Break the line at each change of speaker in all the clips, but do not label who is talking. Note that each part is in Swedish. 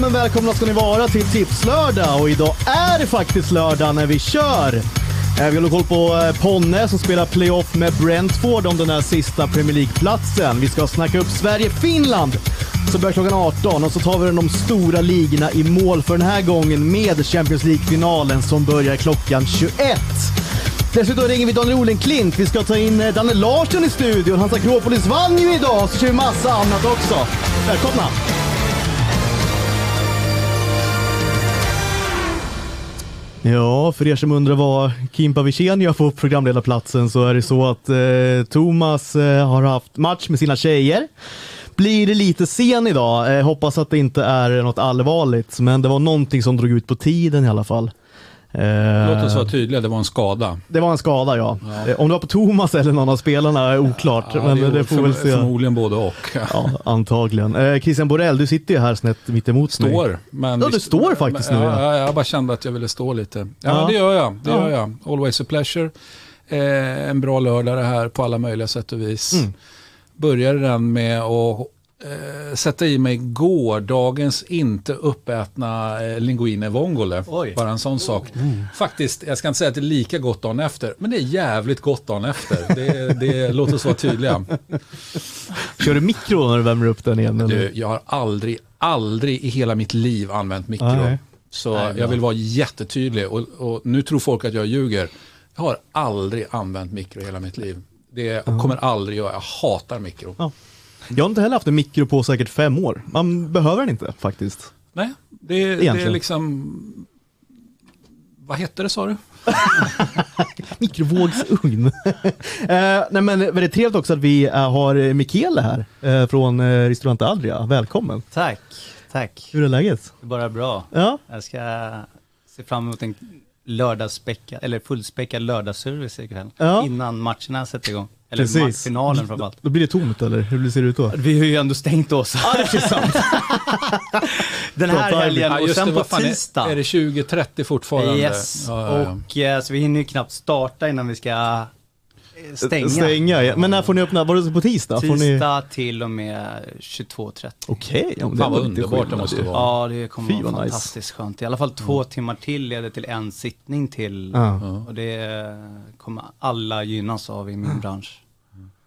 men välkomna ska ni vara till Tipslördag och idag är det faktiskt lördag när vi kör. Eh, Vi håller koll på eh, Ponne som spelar playoff med Brentford om den här sista Premier League-platsen. Vi ska snacka upp Sverige-Finland som börjar klockan 18 och så tar vi de stora ligorna i mål för den här gången med Champions League-finalen som börjar klockan 21. Dessutom ringer vi Daniel Olenklint. Vi ska ta in eh, Danne Larsson i studion. Hans Akropolis vann ju idag, så kör vi massa annat också. Välkomna! Ja, för er som undrar vad Kimpa Wirsén gör på programledarplatsen så är det så att eh, Thomas eh, har haft match med sina tjejer. Blir lite sen idag, eh, hoppas att det inte är något allvarligt, men det var någonting som drog ut på tiden i alla fall. Eh,
Låt oss vara tydliga, det var en skada.
Det var en skada ja. Eh, Om det var på Thomas eller någon av spelarna är oklart. men det, får vi väl se.
Förmodligen både och.
Ja, antagligen. Eh, Christian Borell, du sitter ju här snett mitt emot mig.
Står. Men
Ja, du står faktiskt nu, ja.
Ja, jag bara kände att jag ville stå lite. Ja,
Ja.
Men det gör jag. Det
Ja.
gör jag. Always a pleasure. Eh, en bra lördag det här på alla möjliga sätt och vis.
Mm.
Började den med att eh, sätta i mig gårdagens inte uppätna eh, linguine vongole.
Oj. Mm.
Bara en sån sak. Faktiskt, jag ska inte säga att det är lika gott dagen efter, men det är jävligt gott dagen efter. Det, det, låt oss vara tydliga.
Kör du mikro när du värmer upp den igen? eller?
Du, jag har aldrig, aldrig i hela mitt liv använt mikro.
Nej.
Så jag vill vara jättetydlig och, och nu tror folk att jag ljuger. Jag har aldrig använt mikro i hela mitt liv. Det kommer aldrig göra. Jag hatar mikro.
Ja. Jag har inte heller haft en mikro på säkert fem år. Man behöver den inte faktiskt.
Nej, det, det är
Egentligen.
liksom... Vad hette det sa du?
Mikrovågsugn. eh, nej men väldigt trevligt också att vi eh, har eh, Michele här eh, från eh, restaurant Adria. Välkommen!
Tack, tack.
Hur är läget?
Det är bara bra.
Ja,
Jag ska se fram emot en lördagsspäckad, eller fullspäckad lördagsservice ikväll.
Ja.
Innan matcherna sätter igång. Eller
Precis.
matchfinalen framförallt.
då blir det tomt eller? Hur ser det ut då?
Vi har ju ändå stängt oss
det är sant.
den
Bra
här
timing.
helgen
Ja,
och
just
sen
det,
på
vad fan är-
tisdag.
Är det 20.30 fortfarande?
yes.
Ja, ja, ja.
Och, eh, så vi hinner ju knappt starta innan vi ska eh, stänga.
ja. Men när får ni öppna? Var det på tisdag? Får ni...
Tisdag till och med 22.30.
Okej, ja, men
Fan, vad
var lite
underbart det
skillnad
måste
ju.
vara.
Ja, det kommer
Fy,
vara
vad nice. Mm.
fantastiskt skönt. I alla fall två timmar till leder till en sittning till.
Ja.
Och det kommer alla gynnas av i
Mm.
min bransch.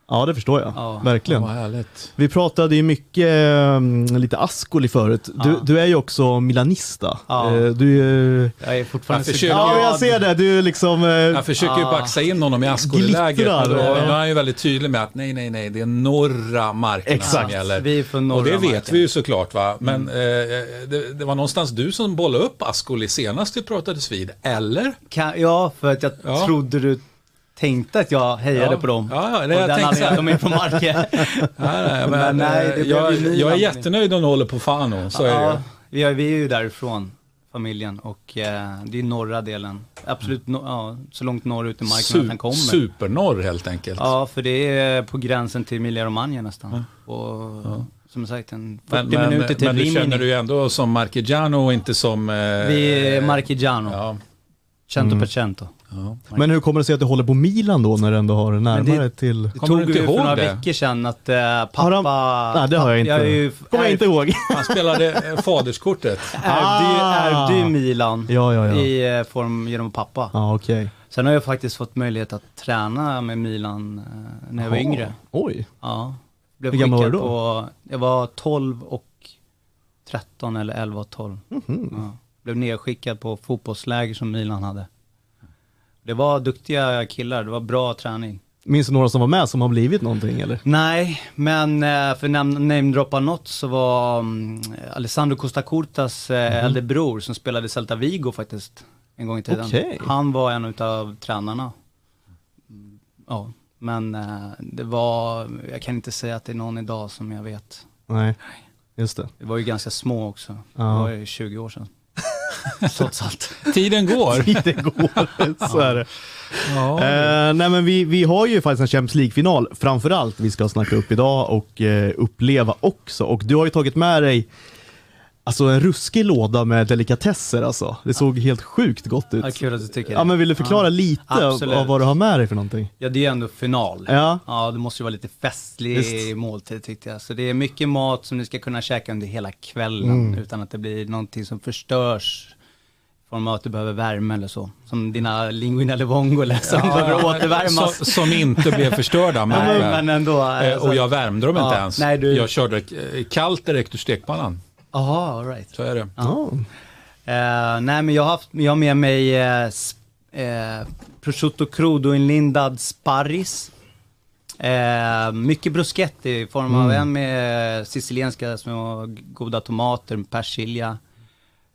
Ja, det förstår jag.
Ja.
Verkligen.
Vad härligt.
Vi pratade ju mycket, ehm, lite Ascoli förut. Du, du är ju också milanista.
Ja.
Eh, Du är ju...
Jag är fortfarande
Jag
så
försöker-
Ja,
glad.
men jag ser det. Du är liksom... eh,
Jag försöker ju
Ah.
baxa in honom i Askoliläget.
Glittrar,
men Då,
ja.
då är han ju väldigt tydlig med att nej, nej, nej, det är norra markerna som
Exakt.
gäller.
Vi är från norra Mm.
Och det
marken.
vet vi ju såklart va. Men eh, det, det var någonstans du som bollade upp Ascoli senast vi pratades vid, eller?
Kan, ja, för att jag
Ja.
trodde du tänkte att jag hejade
Ja.
på dem.
Ja, ja, det
Och
jag
den
tänkte så här.
anledningen, de är på marken.
Nej, nej, men,
Men nej, det
eh,
blev
jag,
ju Milan.
jag är jättenöjd om du håller på Fano, så är det
ja,
ju.
vi, är, vi är ju därifrån, familjen. Och eh, det är norra delen. Absolut, no, ja, så långt norrut i marken att
Su-
den kommer.
supernorr helt enkelt.
Ja, för det är på gränsen till Emilia Romagna nästan. Och som sagt, en 40
Men, men,
minuter till
men du känner
Rimini.
du ju ändå som Marchigiano och inte som... Eh,
Vi är Marchigiano,
ja. Mm.
cento per cento.
Men hur kommer det sig att du håller på Milan då, när du ändå har det närmare
det-
till...
Det
Kommer du
tog
inte
ju för
ihåg
några
det?
veckor sedan att eh, pappa...
Har han- Nej, det har jag inte.
är ju,
Kommer jag inte ihåg.
Han spelade eh, faderskortet.
Ärvde ju ärvde ju Milan
Ah! Ja, ja, ja.
i eh, form genom pappa.
Ja, okej.
Sen har jag faktiskt fått möjlighet att träna med Milan eh, när jag var yngre.
Oj.
Ja. Blev
Hur gammal var
skickad
du då?
På, jag var 12 och 13 eller 11 och 12.
Mhm.
Ja. Blev nedskickad på fotbollsläger som Milan hade. Det var duktiga killar, det var bra träning.
Minns du några som var med som har blivit någonting eller?
Nej, men eh, för att nam- namedroppa något så var mm, Alessandro Costa Curtas eh,
Mhm.
äldre bror som spelade i Celta Vigo faktiskt en gång i tiden.
Okej.
Han var en utav tränarna. Mm, Ja, men eh, det var, jag kan inte säga att det är någon idag som jag vet.
Nej, just det.
Det var ju ganska små också.
Ja.
Det var ju 20 år sedan. Trots allt.
Tiden går.
Det går, så är det.
Ja.
Eh, nej men vi, vi har ju faktiskt en Champions League-final framförallt vi ska snacka upp idag och eh, uppleva också. Och du har ju tagit med dig Alltså en ruskig låda med delikatesser alltså. Det såg helt sjukt gott ut.
Ja, kul att du tycker
Ja,
det.
men vill du förklara lite
absolut.
av vad du har med dig för någonting?
Ja, det är ju ändå final.
Ja.
det måste ju vara lite festlig
Visst.
måltid tyckte jag. Så det är mycket mat som ni ska kunna käka under hela kvällen
Mm.
utan att det blir någonting som förstörs. I form av att du behöver värme eller så. Som dina linguina levongole som behöver återvärmas.
Som, som inte blev förstörda. Men,
Nej, men ändå.
eh,
alltså.
och jag värmde dem inte
Ja,
ens.
nej, du-
Jag körde eh, kallt direkt ur stekpannan.
Jaha, all right.
Så är det.
Ja.
Eh, nej, men jag har, haft, jag har med mig eh, sp- eh, prosciutto crudo inlindad sparris. Eh, mycket bruschetta i form av
Mm.
en med sicilienska små goda tomater, med persilja.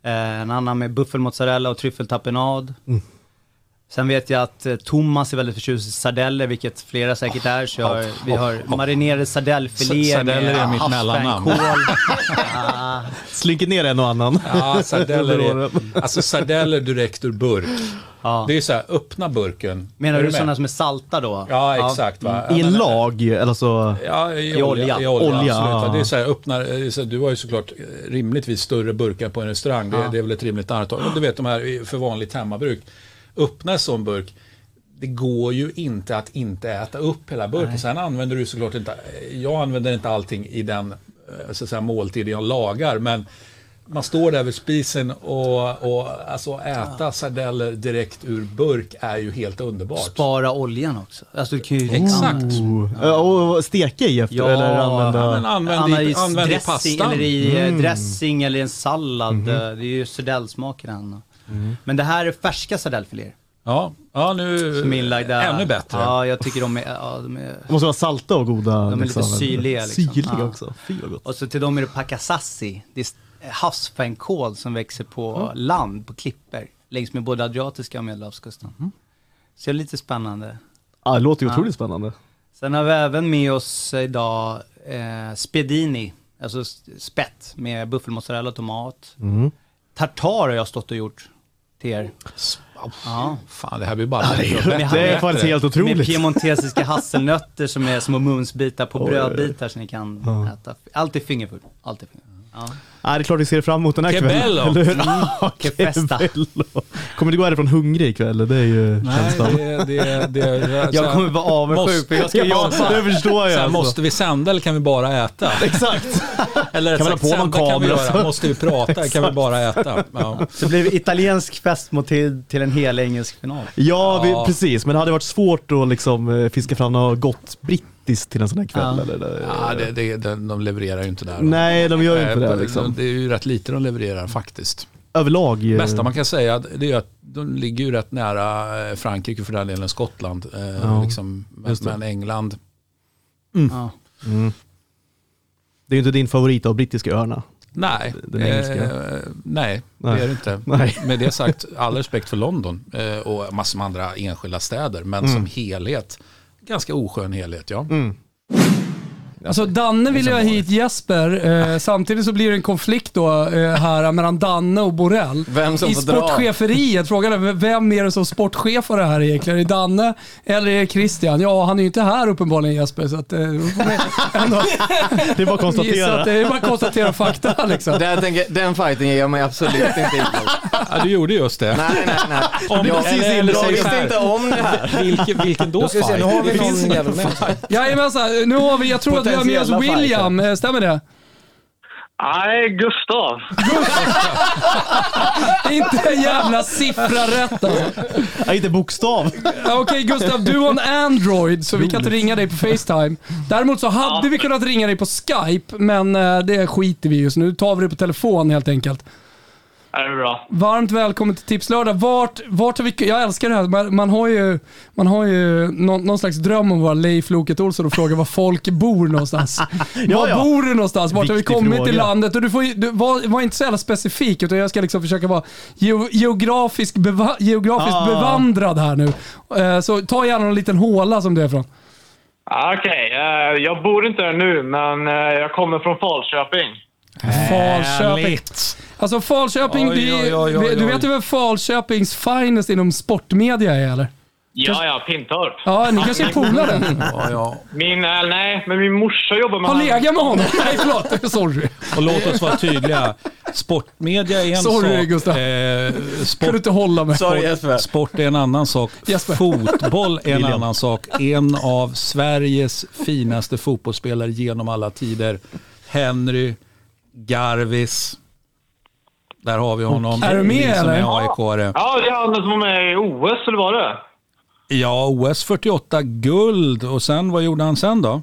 Eh, en annan med buffelmozzarella och tryffeltapenad.
Mm.
Sen vet jag att eh, Thomas är väldigt förtjust i sardeller, vilket flera säkert är. Så jag, vi har marinerade
S-
sardellfiléer
sardeller är mitt mellannamn.
havsfränkål.
Slinker ner en och annan.
Ja, sardeller är, alltså sardeller direkt ur burk.
Ja.
Det är så här, öppna burken.
Menar
Är
du
med?
sådana som är salta då?
Ja, exakt. Va?
I
Ja,
en lag, eller så...
Ja, i,
I
olja.
olja.
I olja,
Olja,
absolut.
ja.
Det är så här, öppnar, eh, det är så här, du har ju såklart eh, rimligtvis större burkar på en restaurang. Det, det är väl ett rimligt antag. Men Du vet de här i- för vanligt hemmabruk. Öppna en sån burk. Det går ju inte att inte äta upp hela burken. Sen använder du såklart inte, jag använder inte allting i den eh, så att säga, måltid jag lagar. Men man står där vid spisen och, och alltså äta sardeller direkt ur burk är ju helt underbart.
Spara oljan också. Alltså du kan ju...
Exakt.
Oh. Ja, Och steka i efter,
Ja,
eller använda...
Ja, men använd,
Anna,
i, använd i
dressing,
pastan. Mm. Mhm.
Eller i eh, dressing eller i en sallad. eh, Det är ju sardellsmak i den.
Mm.
Men det här är färska sardellfiléer.
Ja, ja nu
Som är inlagda...
Eh, ännu bättre.
Ja, jag tycker de är... Ja, de är
De måste vara salta och goda.
De är lite syrliga, liksom.
Syrliga
Ja.
också. Fy vad gott.
och så till dem är det pakasassi. Det är s- havsfänkål som växer på
Mm.
land, på klippor. Längs med både Adriatiska och Medelhavskusten.
Mm.
Så det är lite spännande.
Ja, det låter ju otroligt spännande.
Sen har vi även med oss idag eh, spedini, alltså s- spett med buffelmozzarella och tomat.
Mm.
Tartar har jag stått och gjort till er. Ja.
Fan, det här blir bara...
Men
Det är
jag-
faktiskt helt
Med
otroligt.
piemontesiska hasselnötter som är små munsbitar på brödbitar som ni kan äta. Alltid fingerfood. Alltid fingerfood. Ja.
Ja, det är klart vi ser fram emot den här
Kebello.
kvällen. eller hur?
Mm.
Ja,
Che festa.
Kebello. Kommer du gå härifrån hungrig ikväll? Det är ju känslan.
det, det, det,
Jag kommer vara avundsjuk för jag ska
Ja,
jobba.
det förstår jag.
Sen
alltså.
måste vi sända eller kan vi bara äta?
Exakt.
Eller
Kan man
rättare sagt,
ha på någon
sända kan vi
kamera
göra.
så?
Måste vi prata eller kan vi bara äta? Ja.
Så det blev italiensk festmåltid till en hel engelsk final.
Ja,
Ja.
Vi, precis. Men det hade varit svårt att liksom, eh, fiska fram något gott brittiskt till en sån här kväll.
Ja.
Eller, eller.
Ja, det, det, de, de levererar ju inte där.
Nej, de gör ju inte det.
Eh,
Liksom.
Det är ju rätt lite de levererar faktiskt.
Överlag. eh,
bästa man kan säga det är ju att de ligger ju rätt nära eh, Frankrike för den delen Skottland. Eh,
Ja,
liksom, men,
just det.
men England,
Mm.
Ja.
Det är ju inte din favorit av brittiska öarna.
nej.
Den engelska.
Eh, nej,
Nej.
det är det inte.
Nej.
Med det sagt, all respekt för London eh, och massor med andra enskilda städer, men som
Mm.
helhet, ganska oskön helhet ja.
Alltså Danne vill ju ha hit Jesper, eh, samtidigt så blir det en konflikt då eh, här mellan Danne och Borrell.
Vem som
I
får dra.
sportcheferiet, frågan är vem är det som sportchefar det här egentligen? Är det Danne eller är det Christian? Ja, han är ju inte här uppenbarligen Jesper, så att, eh, då får vi ändå
Det är bara att
gissa
konstatera.
att det är bara att konstatera fakta liksom.
Den, tänker, den fighten ger jag mig absolut inte in på.
ja du gjorde just det.
Nej, nej, nej.
Om
Jag,
precis
eller- eller,
indragen.
jag visste inte om det här.
Vilken, vilken då
ska vi se, nu har vi
Det
någon
finns ingen
jävel
fight.
Jajamensan, nu har vi, jag tror att vi har med oss
Potentiella fighter.
William, eh, stämmer det?
Nej, Gustav.
Inte en jävla siffra rätt alltså.
Ja, inte bokstav.
Ja, Okej Gustav, du har en Android så vi kan inte ringa dig på Facetime. Däremot så hade vi kunnat ringa dig på Skype, men eh, det skiter vi i just nu. Nu tar vi det på telefon helt enkelt.
Ja, Det är bra.
Varmt välkommen till Tipslördag. Vart, vart har vi, jag älskar det här, man, man har ju, man har ju någon, någon slags dröm om att vara Leif Loket Olsson och fråga var folk bor någonstans. var
ja.
bor du någonstans? Vart har vi
Viktig
kommit
fråga.
i landet? Och du får, ju- du, var, var inte så jävla specifik, utan jag ska liksom försöka vara ge, geografisk beva, geografiskt
Ah.
bevandrad här nu. Eh, så ta gärna en liten håla som du är ifrån.
Ja, Okej, eh, jag bor inte där nu, men eh, jag kommer från Falköping.
Falköping. Alltså Falköping,
Oj,
det är-
oj, oj, oj,
du vet
oj.
ju vem Falköpings finest inom sportmedia är eller?
Ja, ja, Pintorp.
Ja, ni kanske är polare?
Ja, ja.
Min, eh, nej, men min morsa jobbar med
Har
han.
legat med honom? Nej förlåt, sorry.
Och låt oss vara tydliga. Sportmedia är en
Sorry,
sak.
Gustav.
Eh,
Kan du
sport,
inte hålla mig?
Sorry Jesper.
sport är en annan sak.
Jesper.
Fotboll är en annan sak. En av Sveriges finaste fotbollsspelare genom alla tider. Henry Garvis. Där har vi honom.
Är du med,
Ni som
eller?
är AIK-are.
Ja, det är han som var med i OS, eller var det?
Ja, OS 48 guld och sen vad gjorde han sen då?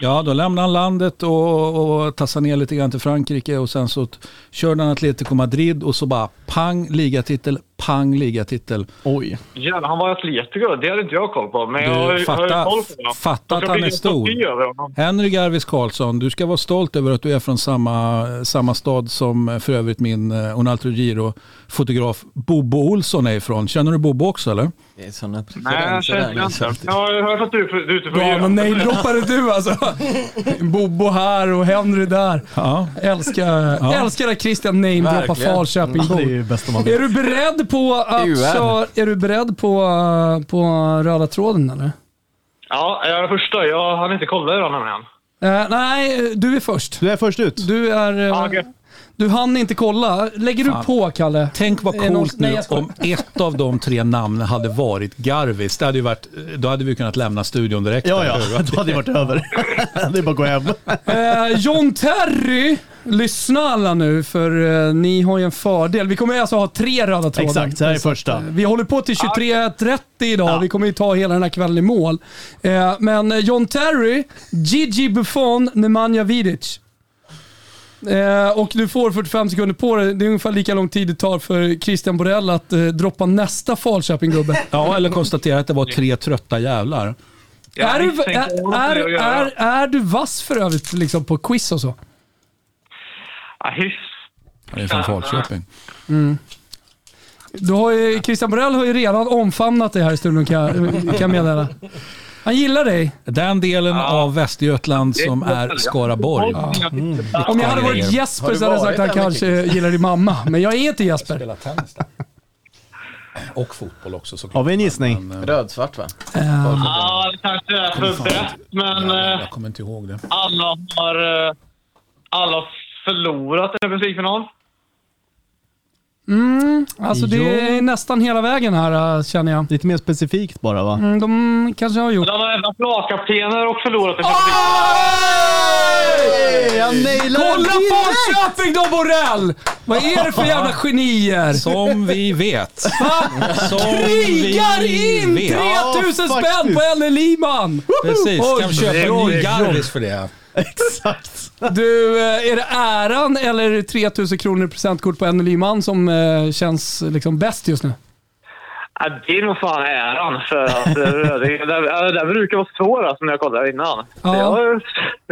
Ja, då lämnade han landet och, och tassade ner lite grann till Frankrike och sen så t- körde han Atletico Madrid och så bara pang ligatitel, pang ligatitel.
Oj.
Jävlar, han var atletiker. Det hade inte jag koll på. Men
Du,
jag har ju- har ju
fatta-
koll på honom.
fatta
Jag
att han
blir
är stor.
stolt över honom.
Henry Garvis Karlsson, du ska vara stolt över att du är från samma, samma stad som eh, för övrigt min eh, Onalto Giro-fotograf Bobo Olsson är ifrån. Känner du Bobo också eller?
Det är sådana
Nej, jag
preferenser
känner
där.
inte.
liksom.
Jag har hört att du, du är ute på
Bra, men nej droppade du alltså. Bobo här och Henry där.
Ja.
Älskar, älskar att Christian namedroppar
Verkligen.
Det är
Falköpingbor.
ju bäst om man
Är du beredd på att
UR.
köra, är du beredd på, eh, på röda tråden eller?
Ja, jag är den första. Jag hann inte kolla idag nämligen.
Eh, nej, du är först.
Du är först ut.
Du är... eh,
Ja, Ah, okej.
Du hann inte kolla. Lägger du på, Kalle?
Tänk vad
Är det någon-
coolt
Nej,
nu
jag skojar.
om ett av de tre namnen hade varit Garvis. Det hade ju varit, då hade vi kunnat lämna studion direkt.
Ja, ja. Då hade det varit över. det är bara att gå hem.
Eh, John Terry, lyssna alla nu för eh, ni har ju en fördel. Vi kommer alltså ha tre röda trådar.
Exakt, det här är första.
Vi håller på till 23.30 idag. Vi kommer ju ta hela den här kvällen i mål. Eh, men eh, John Terry, Gigi Buffon, Nemanja Vidic. Eh, och du får 45 sekunder på dig. Det är ungefär lika lång tid det tar för Christian Borell att eh, droppa nästa Falköping-gubbe.
Ja, eller konstatera att det var tre trötta jävlar.
Jag
är, du,
misstänker
är,
vad det
är,
att göra.
är, är du vass för övrigt liksom, på quiz och så?
Ja, hyfs.
Det är från Falköping.
Du har ju, Christian Borell har ju redan omfamnat dig här i studion kan jag, kan jag meddela. Han gillar dig.
Den delen av Västergötland som är Skaraborg.
Ja.
Mm. Om jag hade varit
Grejer.
Jesper
Har du
så hade jag sagt
varit
att
där
han
med
kanske gillar din mamma. Men jag är inte Jesper.
tennis där. Och fotboll också såklart.
Har vi en gissning?
Men, eh,
Rödsvart va?
Ja, det kanske är för brett, men eh,
Jag kommer inte ihåg det.
alla har eh, alla har förlorat en Champions League-final.
Alltså det är nästan hela vägen här äh, känner jag.
Lite mer specifikt bara va?
Mm, De kanske har gjort...
De har även lagkaptener och förlorat en Champions League.
Hey, jag nailade
Kolla
den direkt!
Falköping då Borell! Vad är det för jävla genier?
Som vi vet. Som
Krigar
vi
in
vet.
3000
Ja,
spänn på
faktiskt.
Elle Liman!
Precis, kan vi köpa en ny Garvis för det?
Exakt.
Du, eh, är det äran eller är det 3000 kronor i presentkort på en Lyman som eh, känns liksom bäst just nu?
Ja, det är nog fan äran för att eh, det, det, det, det brukar vara svårast när jag kollade innan.
Ja.
Jag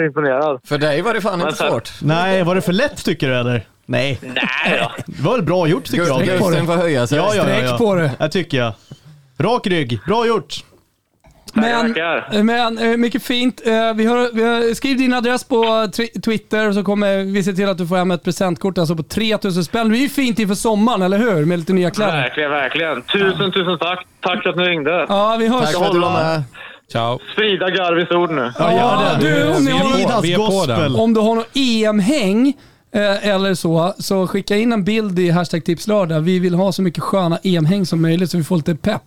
är imponerad.
För dig var det fan inte
Vänta.
svårt.
Nej, var det för lätt tycker du eller? Nej.
Nej då.
Det var väl bra gjort tycker jag.
Gustaf-
Gusten får höja sig.
Ja, ja, ja, ja.
Sträck på det.
Det tycker jag. Rak rygg, bra gjort.
Men,
tackar.
men eh, mycket fint. Eh, Vi har, vi har, skriv din adress på tri- Twitter och så kommer vi se till att du får hem ett presentkort alltså på 3000 spänn. Det är ju fint inför sommaren, eller hur? Med lite nya kläder.
Verkligen, verkligen. Tusen, tusen tack. Tack att ni ringde.
Ja, vi hörs.
Tack för att du var med.
Ciao.
Sprida Garvis ord nu.
Ja,
Ja, du, om, ni har,
Fridas
Vi är på
gospel.
den.
om du har något EM-häng eh, eller så, så skicka in en bild i hashtag tipslördag. Vi vill ha så mycket sköna EM-häng som möjligt så vi får lite pepp.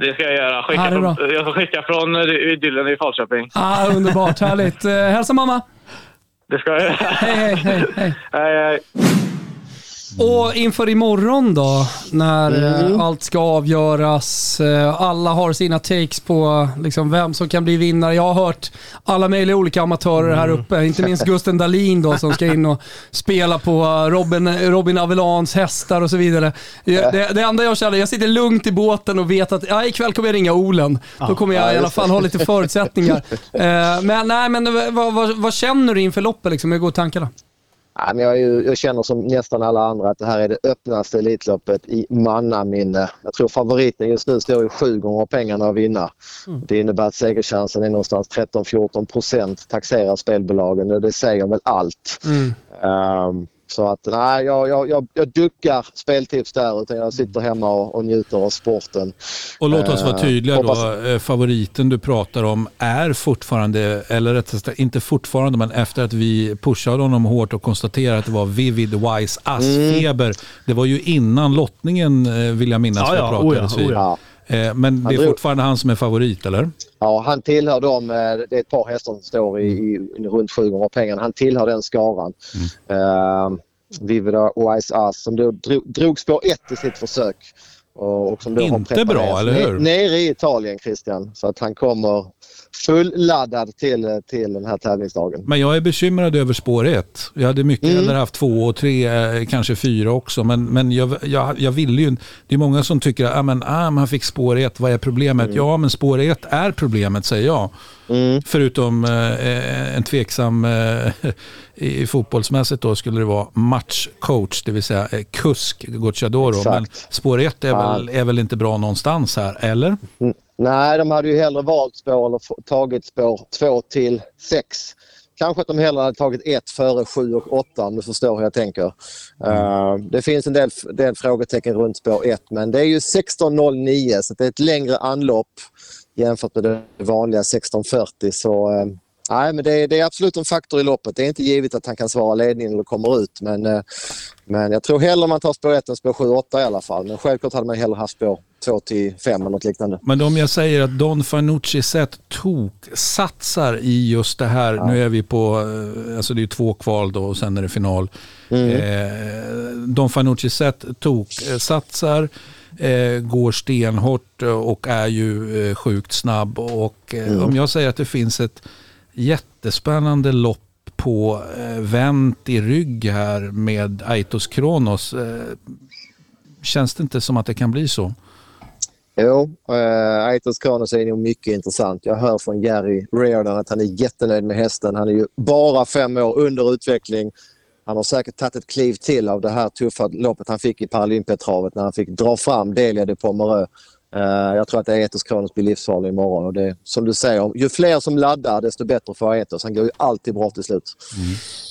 Det ska jag göra. Skicka
Ja, det är bra.
från, jag ska skicka från eh, idyllen i Falköping.
Ah, underbart, härligt. Eh, Hälsa mamma.
Det ska jag Eh, göra.
Hej, hej, hej, hej.
Hej, hej.
Och inför imorgon då, när eh, allt ska avgöras. eh, alla har sina takes på eh, liksom, vem som kan bli vinnare. Jag har hört alla möjliga olika amatörer här uppe, inte minst Gusten Dahlin då, som ska in och spela på eh, Robin, Robin Avelans hästar och så vidare. Eh, Det, det enda jag känner, jag sitter lugnt i båten och vet att ja, ikväll kommer jag ringa Olen. Då kommer jag i alla fall ha lite förutsättningar. Eh, men nej, men eh, vad, vad, vad känner du inför loppet? Liksom? Hur går tankarna?
Ja, men jag, är ju, jag känner som nästan alla andra att det här är det öppnaste Elitloppet i mannaminne. Jag tror favoriten just nu står i sju gånger pengarna att vinna. Det innebär att segerchansen är någonstans 13-14 procent taxerar spelbolagen och det säger väl allt. Ehm, Så att nej, jag, jag, jag, jag duckar speltips där utan jag sitter hemma och, och njuter av sporten.
Och låt oss vara
Eh,
tydliga
hoppas-
då. eh, Favoriten du pratar om är fortfarande, eller rättare sagt inte fortfarande, men efter att vi pushade honom hårt och konstaterade att det var Vivid Wise Ass-feber. Det var ju innan lottningen eh, vill jag minnas
Ja,
vi
ja,
pratades
oh ja, oh
vid.
Ja.
Eh, Men det är
drog-
fortfarande han som är favorit, eller?
Ja, han tillhör dem. eh, Det är ett par hästar som står i, i runt sju gånger pengarna. Han tillhör den skaran. Mm. Vivida Wise Ass som då drog, drog spår ett i sitt försök. Och, och som då har
Inte
preppat
bra,
ner-
eller hur?
Nere i Italien, Christian. Så att han kommer fulladdad till, till den här tävlingsdagen.
Men jag är bekymrad över spår ett. Jag hade mycket hellre haft två och tre, eh, kanske fyra också. Men, men jag, jag, jag ville ju... Det är många som tycker att ah, men, ah, men han fick spår ett, vad är problemet? Ja, men spår ett är problemet, säger jag. Förutom eh, en tveksam, eh, i fotbollsmässigt då skulle det vara matchcoach, det vill säga eh, kusk, Gocciadoro.
Exakt.
Men spår ett är väl, är väl inte bra någonstans här, eller?
Nej, de hade ju hellre valt spår eller f- tagit spår två till sex. Kanske att de hellre hade tagit ett före sju och åtta om du förstår hur jag tänker. Eh, det finns en del, del frågetecken runt spår ett men det är ju 16.09 så det är ett längre anlopp jämfört med det vanliga 16.40. Så, eh, nej, men det, är- det är absolut en faktor i loppet. Det är inte givet att han kan svara ledningen eller kommer ut men, eh, men jag tror hellre man tar spår ett än spår sju åtta i alla fall. Men självklart hade man hellre haft spår två till fem eller något liknande.
Men om jag säger att Don Fanucci sett tok satsar i just det här, nu är vi på, eh, alltså det är ju två kval då och sen är det final. Eh, Don Fanucci sett tok satsar eh, går stenhårt eh, och är ju eh, sjukt snabb. Och eh, om jag säger att det finns ett jättespännande lopp på eh, vänt i rygg här med Aitos Kronos, eh, känns det inte som att det kan bli så?
Jo, eh, Aitos Kronos är nog mycket intressant. Jag hör från Gary Reardon att han är jättenöjd med hästen. Han är ju bara fem år under utveckling. Han har säkert tagit ett kliv till av det här tuffa loppet han fick i Paralympiatravet när han fick dra fram Delia de Pomereux. Eh, jag tror att Aetos Kronos blir livsfarlig imorgon. Och det, som du säger, ju fler som laddar desto bättre för Aetos. Han går ju alltid bra till slut.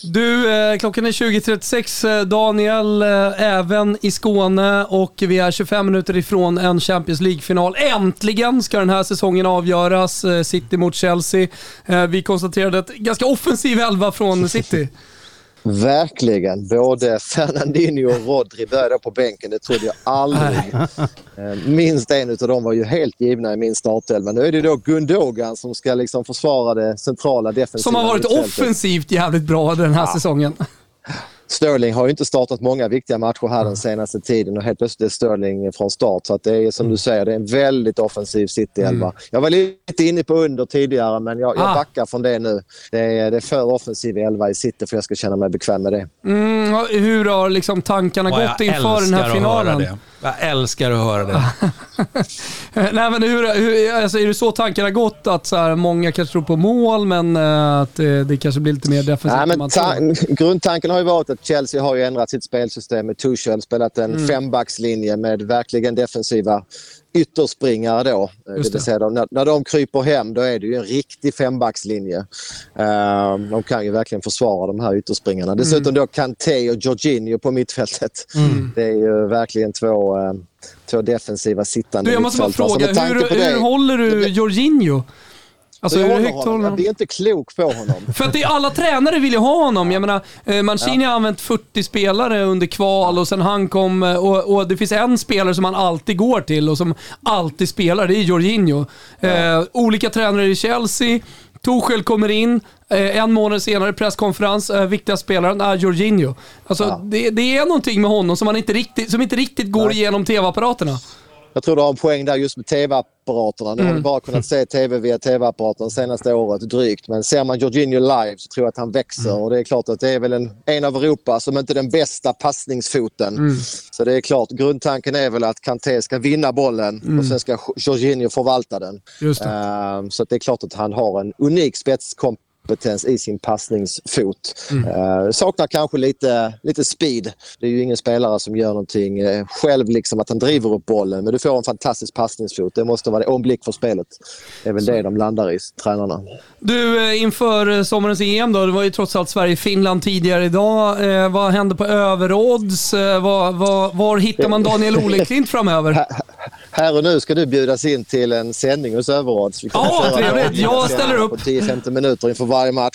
Du, eh, klockan är 20.36 eh, Daniel, eh, även i Skåne och vi är 25 minuter ifrån en Champions League-final. Äntligen ska den här säsongen avgöras. eh, City mot Chelsea. Eh, Vi konstaterade ett ganska offensiv elva från City.
Verkligen. Både Fernandinho och Rodri började på bänken. Det trodde jag aldrig. Eh, Minst en av dem var ju helt givna i min startelva. Nu är det då Gundogan som ska liksom försvara det centrala defensiva.
Som har varit
mittfältet.
offensivt jävligt bra den här säsongen.
Sterling har ju inte startat många viktiga matcher här den senaste tiden och helt plötsligt är Sterling från start. Så att det är
Mm.
som du säger, det är en väldigt offensiv City-elva. Jag var lite inne på under tidigare men jag, jag
Ah.
backar från det nu. Det är, det är för offensiv elva i City för jag ska känna mig bekväm med det.
Mm, ha- hur har liksom tankarna
Ja,
gått inför den här
älskar att höra
finalen?
det. Jag älskar att höra det.
Eh, Nej, men hur, hur, alltså, är det så tankarna gått? Att så här, många kanske tror på mål, men eh, att det, det kanske blir lite mer defensivt?
Nej,
än
men
man tror.
ta- grundtanken har ju varit att Chelsea har ju ändrat sitt spelsystem med Tuchel, spelat en
Mm.
fembackslinje med verkligen defensiva ytterspringare då. Eh,
Just
Det
det.
vill säga, de, när, när de kryper hem då är det ju en riktig fembackslinje. Eh, de kan ju verkligen försvara de här ytterspringarna.
Mm.
Dessutom då Kanté och Jorginho på mittfältet. Det är ju verkligen två, eh, två defensiva sittande
Du, jag måste bara
mittfältare. Så
fråga,
Liksom, alltså, med tanke på
hur,
det-
hur håller du Jorginho? Alltså,
jag
hur
håller
högt
honom.
håller
Jag
du
blir inte klok på honom.
För att det är alla tränare vill ju ha honom. Jag menar, eh, Mancini har använt 40 spelare under kval och sen han kom eh, och, och det finns en spelare som han alltid går till och som alltid spelar, det är Jorginho. Eh, olika tränare i Chelsea, Tuchel kommer in, eh, en månad senare presskonferens, eh, viktiga spelaren är Jorginho. Alltså, det, det är någonting med honom som, man inte, riktigt, som inte riktigt går igenom tv-apparaterna.
Jag tror du har en poäng där just med tv-apparaterna. Nu har
Mm.
vi bara kunnat se tv via tv-apparaterna senaste året drygt. Men ser man Jorginho live så tror jag att han växer.
Mm.
Och det är klart att det är väl en, en av Europa som inte den bästa passningsfoten.
Mm.
Så det är klart, grundtanken är väl att Kanté ska vinna bollen och sen ska Jorginho förvalta den.
Mm.
Eh,
Just det.
Ehm, så att det är klart att han har en unik spetskompetens kompetens i sin passningsfot. Eh, saknar kanske lite, lite speed. Det är ju ingen spelare som gör någonting eh, själv, liksom att han driver upp bollen. Men du får en fantastisk passningsfot. Det måste vara det. Och en blick för spelet. Det är väl det de landar i, tränarna.
Du, eh, inför eh, sommarens EM då, det var ju trots allt Sverige-Finland tidigare idag. Eh, vad hände på överodds? Eh, vad- vad- var hittar man Daniel Oleklint framöver?
Här och nu ska du bjudas in till en sändning hos Överodds. Vi kommer
Ja,
köra
trevligt.
några
Jag
minuter
ställer upp.
På 10-15 minuter inför varje match.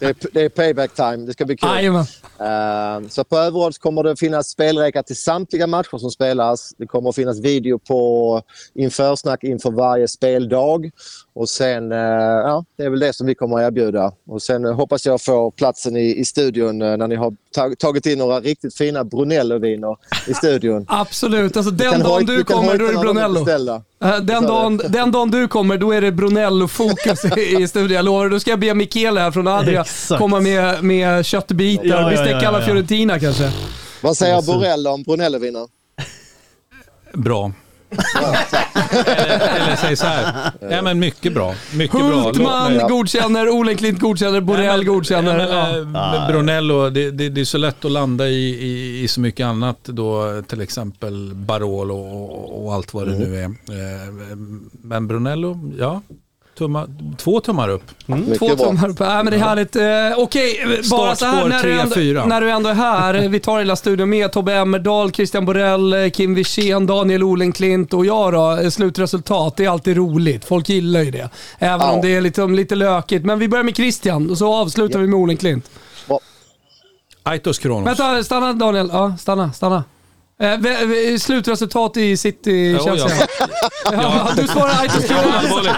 det, är, det är payback time. Det ska bli kul.
Jajamän.
Eh, Så på överallt kommer det finnas spelräkor till samtliga matcher som spelas. Det kommer att finnas video på införsnack inför varje speldag. Och sen, eh, ja, det är väl det som vi kommer att erbjuda. Och sen eh, hoppas jag få platsen i, i studion eh, när ni har tag- tagit in några riktigt fina Brunello-viner i studion.
Absolut, alltså den
Kan
dagen
hoj-
du
kan
kommer då är
hojta
det
när de
Brunello.
beställer.
Eh, Den dagen, den dagen du kommer, då är det Brunello-fokus i i studion, jag lovar. Då ska jag be Michele här från Adria
Exakt.
komma med, med köttbitar,
Ja, ja,
bistec
ja, ja,
alla
ja.
Fiorentina kanske.
Vad säger
Mm,
Borrell om Brunello-viner?
Bra. eller, eller säg så här. Ja, men mycket bra. Mycket bra. Låt
Hultman
mig-
godkänner, Oleklint godkänner,
Nej,
Borrell
men-
godkänner.
nej,
Ja.
men, eh, Brunello, det, det, det är så lätt att landa i, i, i så mycket annat då, till exempel Barolo och, och allt vad det nu är. Eh, Men Brunello, ja, tumma, två tummar upp.
Två tummar upp. Nej, men det är härligt. Eh, Okej, bara så här
Startspår
när
tre,
du, ändå,
fyra.
när du ändå är här. Vi tar hela studion med. Tobbe Emmerdahl, Christian Borell, eh, Kim Wirsén, Daniel Olenklint och jag då. Eh, Slutresultat, det är alltid roligt. Folk gillar ju det. Även
Ja.
om det är liksom lite lökigt. Men vi börjar med Christian och så avslutar vi med Olenklint.
Aitos Kronos.
Vänta, stanna Daniel. Ja, stanna, stanna. Eh, vä- vä- slutresultat i City,
Ja, oj,
Chelsea.
ja.
Ja, du svarar Aitos
Ja,
Kronos.
allvarligt.